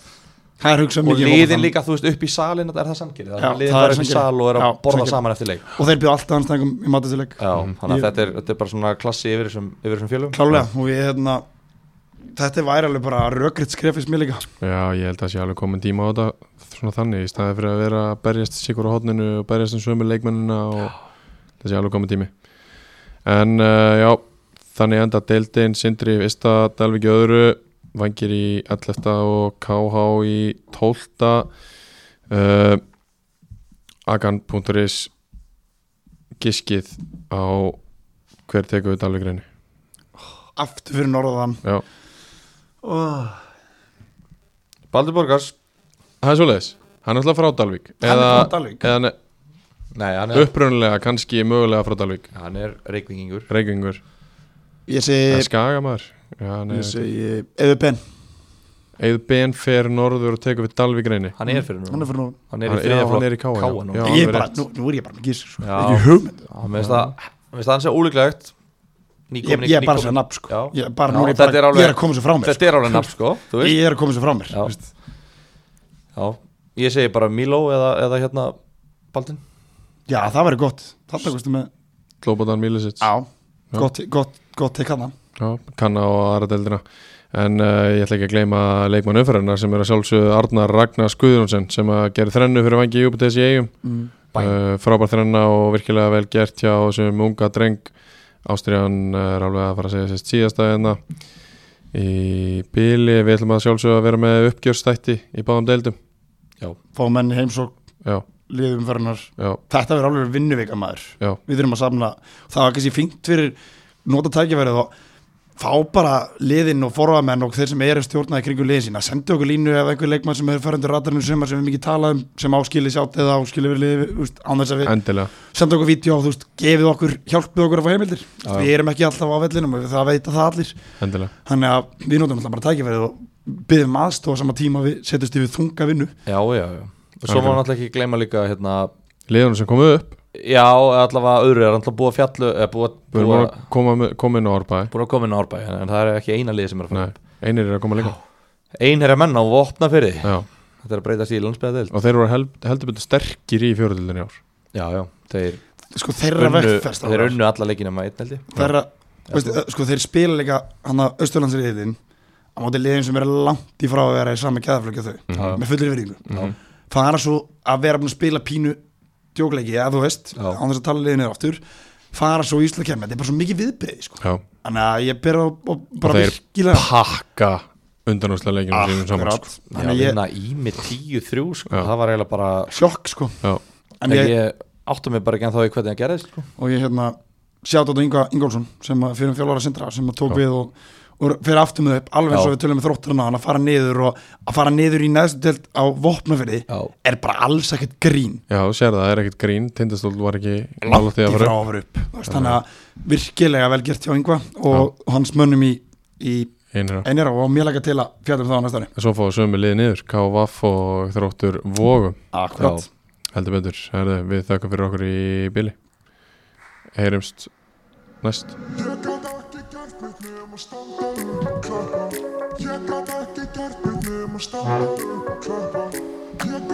það er hugsað og mikið um liðin fótboltann. líka, þú veist, upp í salin þetta er það Sandger, það Já, er liðin það er bara upp í Sandgerði. sal og er að Já, borða Sandgerði. saman eftir leik og þeir byrja alltaf anstæðingum í matur þessi leik Já, þannig að Ég- þetta er, þetta er bara svona klassi yfir þessum, yfir þessum fjölum klálega og við hérna þetta væri alveg bara rökriðt skrefis mér líka já ég held að sé alveg komin tíma á þetta svona þannig í staði fyrir að vera að berjast sikur á hodninu og berjast um sömu leikmennina og það sé alveg komin tími En uh, já, þannig enda deildin Sindri í Vista, Dalvik í öðru Vangir í 11. og KH í 12. Uh, Agan.is Giskið á hver tekur við Dalvik reyni aftur fyrir norðan Já, oh. Baldur Borgars, það er svoleiðis Hann er alltaf frá Dalvik Hann er Eða, frá Dalvík. eða ne, nei, hann er, upprunalega, kannski mögulega frá Dalvik hann er reikvingingur Reykjavíkur, ég eða segi, Skagamar Já, nei, ég segi eða Ben, Eða Ben fer norður og tekur við Dalvik reyni hann er fyrir nú, hann er fyrir norðan hann er í Hann- já, þriðja hann flokk er í KA, já. KA Já. núna. ég alveg er bara, rétt. nú, nú er ég bara með gísir sko. Já. ekki hugmynd Já, mér finnst það, mér finnst það hans er ólíklegt ég, Nýkomin- ég er bara nýkomin- að segja nafn sko. Já. ég, er bara, Já, nú er ég, þetta bara, er alveg- ég er að koma svo frá mér sko. Þetta er alveg nafn sko, þú veist ég er að koma svo frá mér Já. þú veist. Já, ég segi bara Milo eða, eða hérna Baldin já það væri gott þetta kostu með Lóbotan Mílisits já. gott, gott, gott teik hann Já, kann á aðra deildina en uh, ég ætla ekki að gleyma leikmann umferðarna sem er að sjálfsögðu Arnar Ragnar Skuðjónsson sem að gera þrennu fyrir vangi í UPTS í eigum mm. Bæn. uh, frábær þrenna og virkilega vel gert hjá þessum unga dreng Ástriðan er alveg að fara að segja sérst síðasta hérna í bíli, við ætlum að sjálfsögðu að vera með uppgjörstætti í báðum deildum fá menn í heimsók já, liðum fyrirnar já, þetta verður alveg vinnuvika maður já, við þurfum að samna það var kannski fínt fyrir nota tækifærið og fá bara liðin og forðamenn og þeir sem eru stjórnaði kringum liðin sína sendi okkur línu ef einhver leikmann sem eru færandur ratarnum sem, sem við mikið tala um sem áskili sjátt eða áskili við liði úst, án þess að við endilega senda okkur vídeo og þú veist, gefið okkur hjálpið okkur að fá heimildir Já. við erum ekki alltaf á vellinum og það veit að það allir endilega þannig að við notum alltaf bara tækifærið og byggjum aðstofa sama tíma og við setjumst yfir þunga vinnu já, já, já. Og svo má Ok. náttúrulega ekki gleyma líka hérna, liðunum sem komu upp já, allavega öðru er náttúrulega búið að fjallu eða búið, við erum búið, að koma, með- koma inn á Árbæ búið að koma inn á árbæ en það er ekki eina liði sem er að fara Nei, einir eru að koma líka einherja menn á vopna fyrir Já. þetta er að breytast í landsbyðadeild og þeir eru held, heldur betur sterkir í fjóruðildinni ár já, já, þeir sko þeirra unnu, verkferst þeir unnu alla leikina með einn held ég þeirra, veist, sko þeir spila líka hann að Östurlandsriðin á móti liðin sem er langt í frá að vera í sama keðaflöki þau, Já. með fullir verðingu Já. það er svo að vera búin að spila pínu djókleiki, að þú veist, Já. án þess að tala liðinu aftur fara svo í Ísla kemna, þetta er bara svo mikið viðbreið sko. Já. þannig að ég ber á á- bara Og þeir virkilega pakka undanúslega leikinu ah, sínum saman Akkurat. sko. já, þannig að ég, vinna í með 10-3 sko, Já. það var eiginlega bara sjokk sko Já. en ég, ég, ég áttu mig bara ekki en þá í hvernig það gerðist sko. og ég hérna sjátt á þetta Inga Ingólfsson sem að fyrir um fjólara sindra sem að tók Já. við og, og fyrir aftur með upp alveg eins Já. og við tölum með þrótturna hann að fara niður og að fara niður í neðstu delt á vopnafyrði já, er bara alls ekkert grín Já, þú sér það, það er ekkert grín Tindastól var ekki nála því í að frá fara upp. að fara upp Þú veist, þannig að virkilega vel gert hjá Inga og hans mönnum í, í Einir að- einir og mér laga til að fjallum það á næsta ári En Svo fáið sömu liði niður, KVF og þróttur Vogum Akkurat, Heldur betur, Herðu, við þakka fyrir okkur í bili Heyrumst næst Ég gat ekki gert mitt nema standa upp, klappa Ég gat ekki gert mitt nema standa upp, klappa Ég